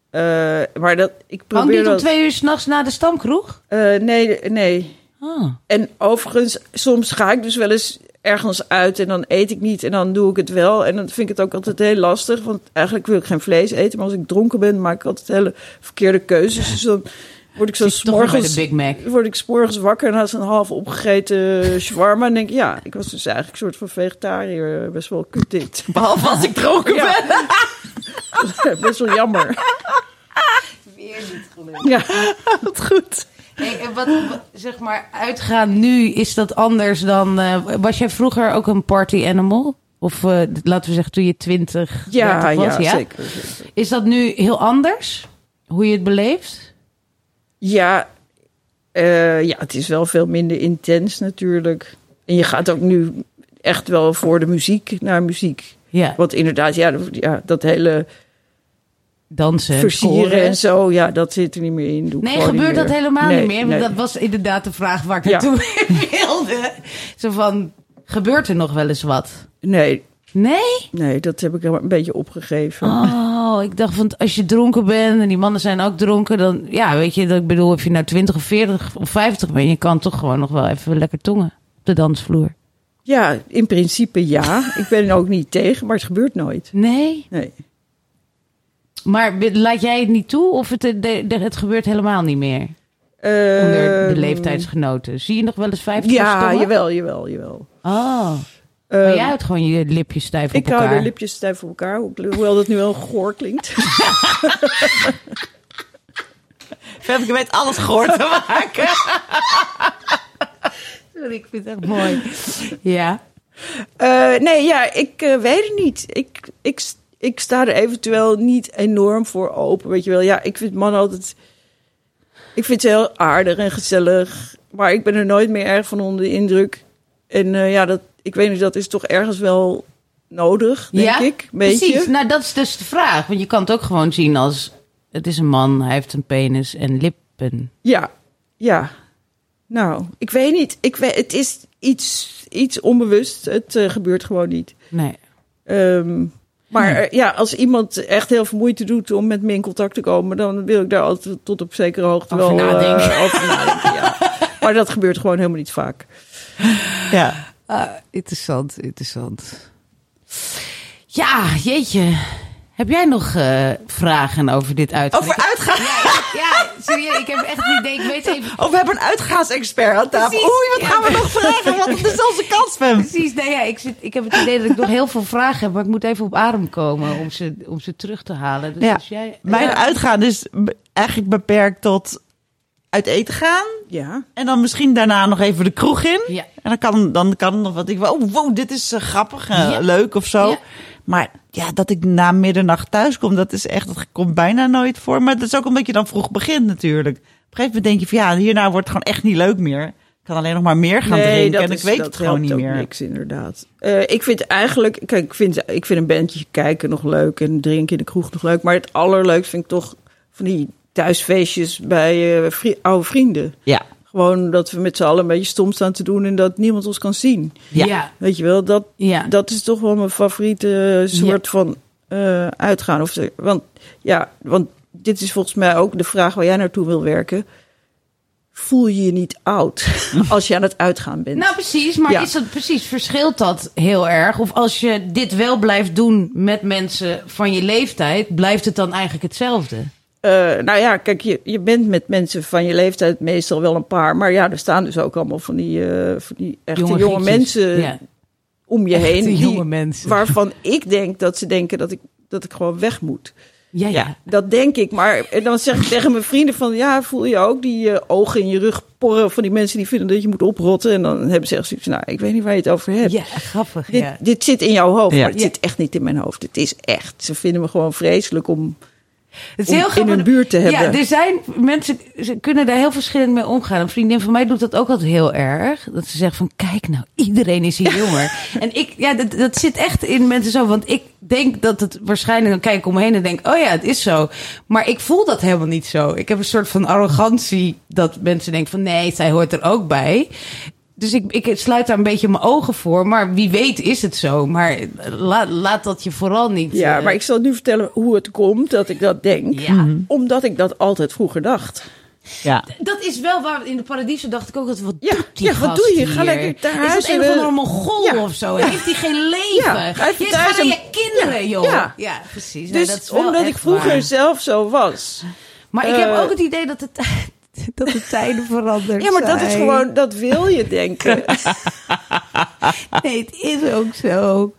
eh, maar dat, ik Hang probeer niet om dat. twee uur s'nachts na de stamkroeg? eh, nee, nee. Ah. En overigens, soms ga ik dus wel eens ergens uit en dan eet ik niet en dan doe ik het wel. En dan vind ik het ook altijd heel lastig, want eigenlijk wil ik geen vlees eten. Maar als ik dronken ben, maak ik altijd hele verkeerde keuzes. Dus dan word ik zo Zit je toch weer bij de s'morgens... Big Mac. word ik s'morgens wakker en had een half opgegeten shawarma. En denk ik, ja, ik was dus eigenlijk een soort van vegetariër. eh, Best wel kut dit. Behalve als ik dronken ben. Best wel jammer. Weer niet gelukt. Ja. Wat goed. Hey, en wat, wat- zeg maar, uitgaan nu is dat anders dan. eh, was jij vroeger ook een party animal? Of eh, laten we zeggen toen je 20 Ja, 30 was, ja, zeker. zeker. Is dat nu heel anders? Hoe je het beleeft? Ja, eh, ja, het is wel veel minder intens natuurlijk. En je gaat ook nu echt wel voor de muziek naar muziek. Ja, Want inderdaad, ja, dat- ja dat hele dansen. versieren koren. en zo, ja, dat zit er niet meer in. Doe ik Nee, gewoon gebeurt niet meer. dat helemaal Nee, niet meer? Want nee. dat was inderdaad de vraag waar ik Ja. naartoe wilde. Zo van, gebeurt er nog wel eens wat? nee, Nee? nee, dat heb ik helemaal een beetje opgegeven. Oh, ik dacht van als je dronken bent en die mannen zijn ook dronken, dan ja, weet je, dat ik bedoel, of je nou 20 of 40 of 50 bent, je kan toch gewoon nog wel even lekker tongen op de dansvloer. Ja, in principe ja. ik ben er ook niet tegen, maar het gebeurt nooit. Nee, Nee. maar be- laat jij het niet toe of het, eh, de- de- het gebeurt helemaal niet meer onder de Ehm, leeftijdsgenoten? Zie je nog wel eens 50 Ja, jawel, jawel, jawel. Oh, Ehm, maar jij houdt gewoon je lipjes stijf op ik elkaar. hou de lipjes stijf voor elkaar, ho- hoewel dat nu wel goor klinkt. Heb ik weet alles gehoord te maken. oh, Sorry, ik vind het echt mooi. ja. Eh, nee, ja, ik eh, weet het niet. Ik, ik, ik sta er eventueel niet enorm voor open. Weet je wel, ja, ik vind mannen altijd. Ik vind ze heel aardig en gezellig. Maar ik ben er nooit meer erg van onder de indruk. En eh, ja, dat, ik weet niet, dat is toch ergens wel nodig, denk ja? ik. een Beetje. Precies, nou dat is dus de vraag. Want je kan het ook gewoon zien als... het is een man, hij heeft een penis en lippen. Ja, ja. Nou, ik weet niet. Ik weet, het is iets, iets onbewust. Het eh, gebeurt gewoon niet. Nee. Ehm, maar eh, ja, als iemand echt heel veel moeite doet om met me in contact te komen, dan wil ik daar altijd tot op zekere hoogte Over wel eh, nadenken. over nadenken. ja. Maar dat gebeurt gewoon helemaal niet vaak. Ja. interessant, interessant. Ja, jeetje. Heb jij nog eh, vragen over dit uitgaan? Over Ik- uitgaan. Ja, ja, serieus, ik heb echt niet... idee. Ik weet even... Of we hebben een uitgaansexpert aan tafel. Precies. Oei, wat Ja. gaan we nog vragen? Want het is onze kans, Fem. Precies, nee, ja, ik, zit, ik heb het idee dat ik nog heel veel vragen heb... maar ik moet even op adem komen om ze, om ze terug te halen. Dus Ja, als jij, Mijn Ja. uitgaan is be- eigenlijk beperkt tot uit eten gaan. Ja. En dan misschien daarna nog even de kroeg in. Ja. En dan kan, dan kan er nog wat. Ik, oh, wow, dit is eh, grappig, eh, Ja. leuk of zo. Ja. Maar ja, dat ik na middernacht thuis kom, dat is echt, dat komt bijna nooit voor. Maar dat is ook omdat je dan vroeg begint natuurlijk. Op een gegeven moment denk je van ja, hierna wordt het gewoon echt niet leuk meer. kan alleen nog maar meer gaan drinken en ik weet het gewoon helpt niet ook meer. niks, inderdaad. Eh, ik vind eigenlijk, kijk, ik vind, ik vind een bandje kijken nog leuk en drinken in de kroeg nog leuk. Maar het allerleukst vind ik toch van die thuisfeestjes bij eh, vri- oude vrienden. Ja, Gewoon dat we met z'n allen een beetje stom staan te doen en dat niemand ons kan zien. Ja. ja. Weet je wel, dat, Ja. dat is toch wel mijn favoriete soort van eh, uitgaan. Of, de- want, ja, want dit is volgens mij ook de vraag waar jij naartoe wil werken. Voel je je niet oud als je aan het uitgaan bent? Nou, precies. Maar Ja. is dat precies? Verschilt dat heel erg? Of als je dit wel blijft doen met mensen van je leeftijd, blijft het dan eigenlijk hetzelfde? Eh, nou ja, kijk, je, je bent met mensen van je leeftijd meestal wel een paar. Maar ja, er staan dus ook allemaal van die, eh, van die echte jonge, gekjes. mensen Ja. om je Echte heen. die- jonge mensen. Waarvan ik denk dat ze denken dat ik, dat ik gewoon weg moet. Ja, ja. Ja. Dat denk ik. Maar en dan zeg ik tegen mijn vrienden van... ja, voel je ook die eh, ogen in je rug porren... van die mensen die vinden dat je moet oprotten. En dan hebben ze echt zoiets van... nou, ik weet niet waar je het over hebt. Ja, grappig. Dit, ja. dit zit in jouw hoofd, Ja. maar het Ja. zit echt niet in mijn hoofd. Het is echt. Ze vinden me gewoon vreselijk om... Het om in grappig. hun buurt te hebben. Ja, er zijn mensen, ze kunnen daar heel verschillend mee omgaan. Een vriendin van mij doet dat ook altijd heel erg. Dat ze zegt van, kijk nou, iedereen is hier jonger. en ik, ja, dat, dat zit echt in mensen zo. Want ik denk dat het waarschijnlijk, dan kijk ik om me heen en denk, oh ja, het is zo. Maar ik voel dat helemaal niet zo. Ik heb een soort van arrogantie dat mensen denken van, nee, zij hoort er ook bij. Dus ik, ik sluit daar een beetje mijn ogen voor. Maar wie weet is het zo. Maar laat, laat dat je vooral niet... Ja, eh, maar ik zal nu vertellen hoe het komt dat ik dat denk. Ja. Mhm. Omdat ik dat altijd vroeger dacht. ja. Dat is wel waar. In de paradiso dacht ik ook dat wat Ja, doet die ja, wat gast doe je? hier? Ga lekker thuis Is dat een en, of eh, andere Mongool ja, of zo? ja. Heeft hij geen leven? Ja, hij heeft je thuis gaat aan een- je kinderen, ja, joh. Ja, ja. precies. Nee, Dus dat is wel omdat echt ik vroeger waar. zelf zo was. Maar ik heb eh, ook het idee dat de, tij- dat de tijden veranderen. Ja, maar dat is zijn. gewoon, dat wil je denken. Nee, het is ook zo.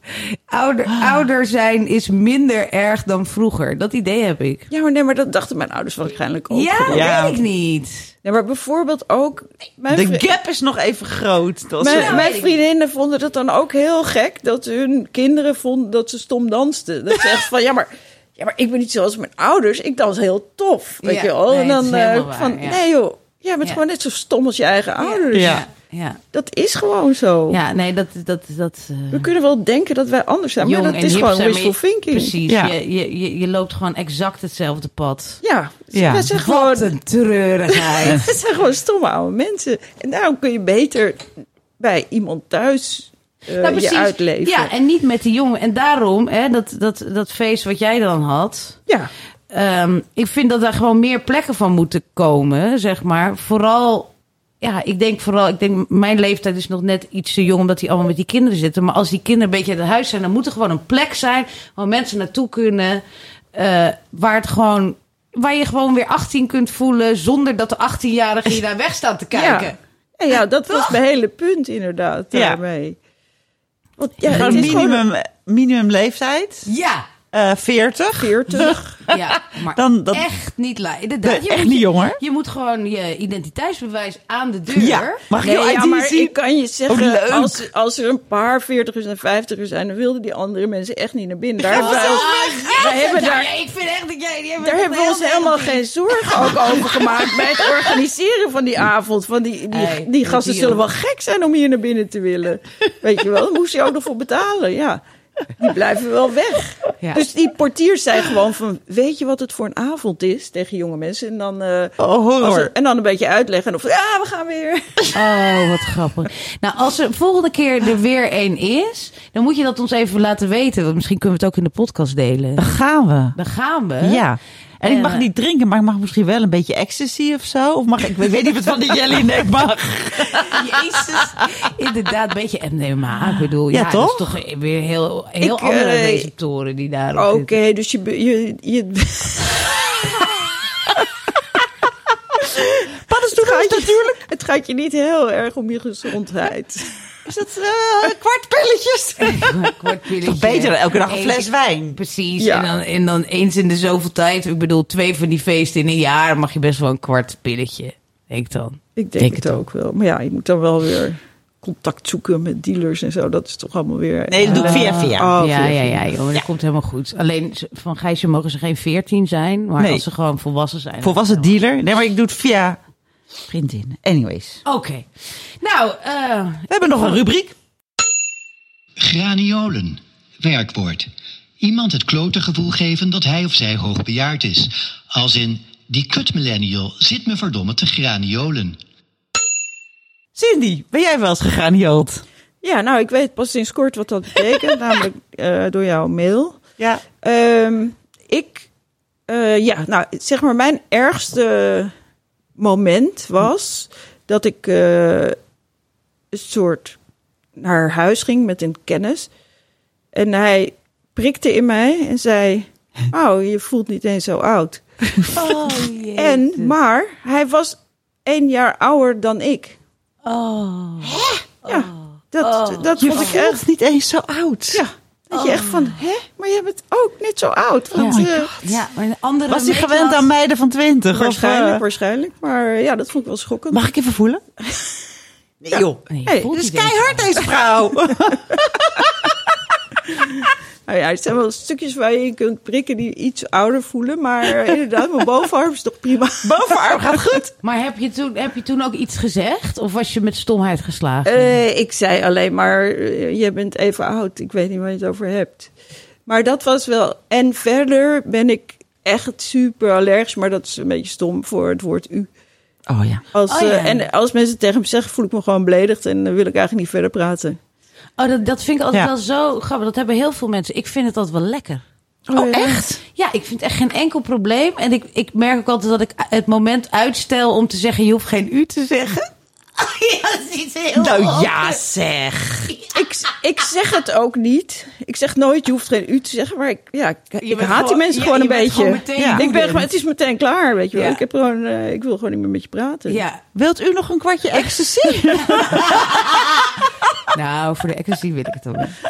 Ouder, ouder zijn is minder erg dan vroeger. Dat idee heb ik. Ja, maar nee, maar dat dachten mijn ouders waarschijnlijk ook. Ja, dat Ja. weet ik niet. Nee, maar bijvoorbeeld ook... Mijn De vri- gap is nog even groot. Dat is Mijn, wel- mijn vriendinnen vonden dat dan ook heel gek dat hun kinderen vonden dat ze stom dansten. Dat ze echt van ja, maar, ja, maar ik ben niet zoals mijn ouders. Ik dans heel tof. Weet Ja, je wel? nee, en het is dan eh, helemaal waar, van ja. nee joh, jij bent Ja. gewoon net zo stom als je eigen ouders. Ja. Ja, Dat is gewoon zo. ja nee, dat... dat, dat eh, We kunnen wel denken dat wij anders zijn, Jong maar dat en is hip gewoon zijn, maar wishful je- thinking. Precies, Ja. je, je, je, je loopt gewoon exact hetzelfde pad. Ja, Ja. we zijn Wat gewoon, een treurigheid. we zijn gewoon stomme oude mensen. En daarom kun je beter bij iemand thuis eh, je uitleven. Nou, Ja, en niet met die jongen. En daarom, hè, dat, dat, dat feest wat jij dan had. ja. ehm, ik vind dat daar gewoon meer plekken van moeten komen, zeg maar. Vooral, ja, ik denk vooral, ik denk mijn leeftijd is nog net iets te jong omdat die allemaal met die kinderen zitten. Maar als die kinderen een beetje uit huis zijn, dan moet er gewoon een plek zijn waar mensen naartoe kunnen. eh, waar het gewoon, waar je gewoon weer 18 kunt voelen zonder dat de 18-jarigen je daar weg staan te kijken. Ja, ja dat was mijn hele punt inderdaad Ja. daarmee. Want ja, het Gewoon is gewoon minimum, minimum leeftijd, Ja. eh 40. 40. Ja, maar Dan dat- echt niet laat. Inderdaad, Nee, je echt moet- niet jonger. Je moet gewoon je identiteitsbewijs aan de deur. Ja, mag ik Nee, jouw ja, ID maar zien? ik kan je Oh, zeggen, leuk. als, als er een paar 40ers en 50ers zijn, dan wilden die andere mensen echt niet naar binnen. Daar Oh, hebben wij ons- echt? wij hebben Nou, daar- ja, ik vind echt dat jij... die daar dat hebben we ons heel- helemaal geen zorgen ook over gemaakt bij het organiseren van die avond. Want die, die, Hey, die gasten dieren. zullen wel gek zijn om hier naar binnen te willen. Weet je wel, daar moest je ook nog voor betalen, ja. Die blijven wel weg. Ja. Dus die portiers zijn gewoon van, weet je wat het voor een avond is tegen jonge mensen? En dan, eh, Oh, horror. als het- en dan een beetje uitleggen. Of, ja, we gaan weer. Oh, wat grappig. Nou, als er volgende keer er weer één is, dan moet je dat ons even laten weten. Want misschien kunnen we het ook in de podcast delen. Dan gaan we. Dan gaan we. Ja. En ik En, mag eh, niet drinken, maar ik mag misschien wel een beetje ecstasy of zo. Of mag ik, ik weet niet wat van die jelly nee mag. Jezus. Inderdaad, een beetje MDMA. Ik bedoel, ja, Ja, dat is toch? toch weer heel, heel Ik, andere eh, receptoren die daarop Oké, zitten. dus je, be- je, je Paddenstoelen gaat is je- natuurlijk. het gaat je niet heel erg om je gezondheid. Is dat eh kwartpilletjes? kwartpilletje. Toch beter dan elke dag een Eén fles wijn. Precies. Ja. En, dan, en dan eens in de zoveel tijd, ik bedoel twee van die feesten in een jaar, mag je best wel een kwart pilletje. Denk ik dan. Ik denk, het, ook wel. Maar ja, je moet dan wel weer contact zoeken met dealers en zo. Dat is toch allemaal weer... Nee, dat doe ik via via. Oh, ja, ja, via- ja, joh, dat komt helemaal goed. Alleen ze- van Gijsje mogen ze geen 14 zijn, maar Nee. als ze gewoon volwassen zijn. Volwassen dealer? Nee, maar ik doe het via Vriendin. Anyways. Oké. Nou, eh, We hebben nog een rubriek. Graniolen. Werkwoord. Iemand het klote gevoel geven dat hij of zij hoogbejaard is. Als in, die kut millennial zit me verdomme te graniolen. Cindy, ben jij wel eens gegraniold? Ja, nou, ik weet pas sinds kort wat dat betekent, namelijk eh, door jouw mail. Ja. Ehm, ik, eh, ja, nou, zeg maar, mijn ergste moment was dat ik eh, een soort naar huis ging met een kennis. En hij prikte in mij en zei: Oh, je voelt niet eens zo oud. Oh, en, maar hij was één jaar ouder dan ik. Oh. Ja, dat, dat vond ik echt. niet eens zo oud. Ja. Dat je echt van, Oh. hè? Maar jij bent ook net zo oud. Want, my eh, ja, maar een andere Was hij gewend meetklas- aan meiden van 20? of, waarschijnlijk, eh, waarschijnlijk. Maar eh, ja, dat vond ik wel schokkend. Mag ik even voelen? Nee, joh. Nee, Hey, voelt dit niet is eens. Keihard deze vrouw. Nou ja, het zijn wel stukjes waar je in kunt prikken die iets ouder voelen. Maar eh, inderdaad, mijn bovenarm is toch prima. Bovenarm gaat goed. Maar heb je, toen, heb je toen ook iets gezegd? Of was je met stomheid geslagen? Eh, ik zei alleen maar, eh, jij bent even oud. Ik weet niet waar je het over hebt. Maar dat was wel... En verder ben ik echt super allergisch. Maar dat is een beetje stom voor het woord u. Oh ja. Als, Oh ja. eh, en als mensen tegen me zeggen, voel ik me gewoon beledigd. En dan wil ik eigenlijk niet verder praten. oh, dat, dat vind ik altijd Ja. wel zo grappig. Dat hebben heel veel mensen. Ik vind het altijd wel lekker. Oh, echt? Ja, ik vind echt geen enkel probleem. En ik, ik merk ook altijd dat ik het moment uitstel om te zeggen... je hoeft geen u te zeggen. ja, dat is iets heel Nou ja, anders. zeg. Ik, ik zeg het ook niet. Ik zeg nooit, je hoeft geen u te zeggen. Maar ik, ja, ik, ik bent haat die gewoon- mensen ja, gewoon je een bent beetje. gewoon meteen ja. ik ben, woedend. gewoon- het is meteen klaar, weet je wel. Ja. Ik, heb gewoon, eh, ik wil gewoon niet meer met je praten. Ja, Wilt u nog een kwartje ecstasy? Oké. nou, voor de ecstasy wil ik het ook niet.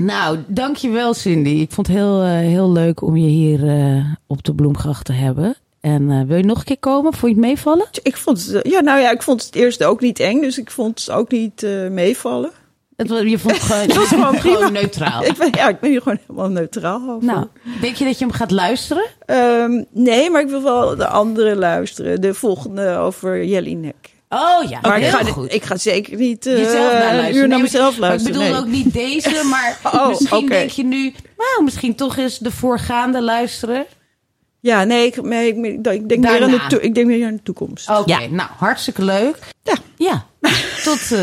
Nou, dankjewel Cindy. Ik vond het heel, eh, heel leuk om je hier eh, op de Bloemgracht te hebben. En eh, wil je nog een keer komen? Vond je het meevallen? Ik vond het, ja, nou ja, ik vond het eerst ook niet eng. Dus ik vond het ook niet eh, meevallen. Het, wa- je vond het gewoon, was gewoon prima. neutraal. Ik ben, ja, ik ben hier gewoon helemaal neutraal over. Oh. Nou, denk je dat je hem gaat luisteren? Ehm, nee, maar ik wil wel de andere luisteren. De volgende over Jelinek. Oh ja, Maar heel ik, ga, goed. ik ga zeker niet eh, Jezelf naar een luisteren. uur Nee, naar maar- mezelf maar luisteren. ik bedoel nee. ook niet deze, maar Oh, misschien oké. denk je nu... Nou, misschien toch eens de voorgaande luisteren. Ja, nee, ik, nee, ik, ik denk meer aan Daarna. de, to- ik denk meer aan de toekomst. Oké, nou, hartstikke leuk. Ja. Ja, tot eh,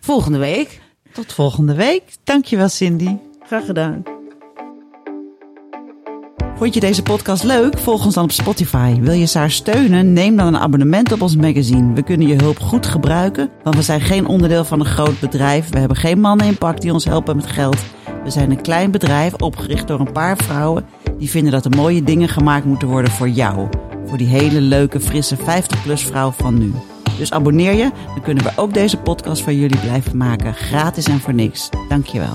volgende week. Tot volgende week. Dankjewel, Cindy. Graag gedaan. Vond je deze podcast leuk? Volg ons dan op Spotify. Wil je Saar steunen? Neem dan een abonnement op ons magazine. We kunnen je hulp goed gebruiken, want we zijn geen onderdeel van een groot bedrijf. We hebben geen mannen in pak die ons helpen met geld. We zijn een klein bedrijf opgericht door een paar vrouwen die vinden dat er mooie dingen gemaakt moeten worden voor jou. Voor die hele leuke, frisse 50-plus vrouw van nu. Dus abonneer je, dan kunnen we ook deze podcast van jullie blijven maken. Gratis en voor niks. Dankjewel.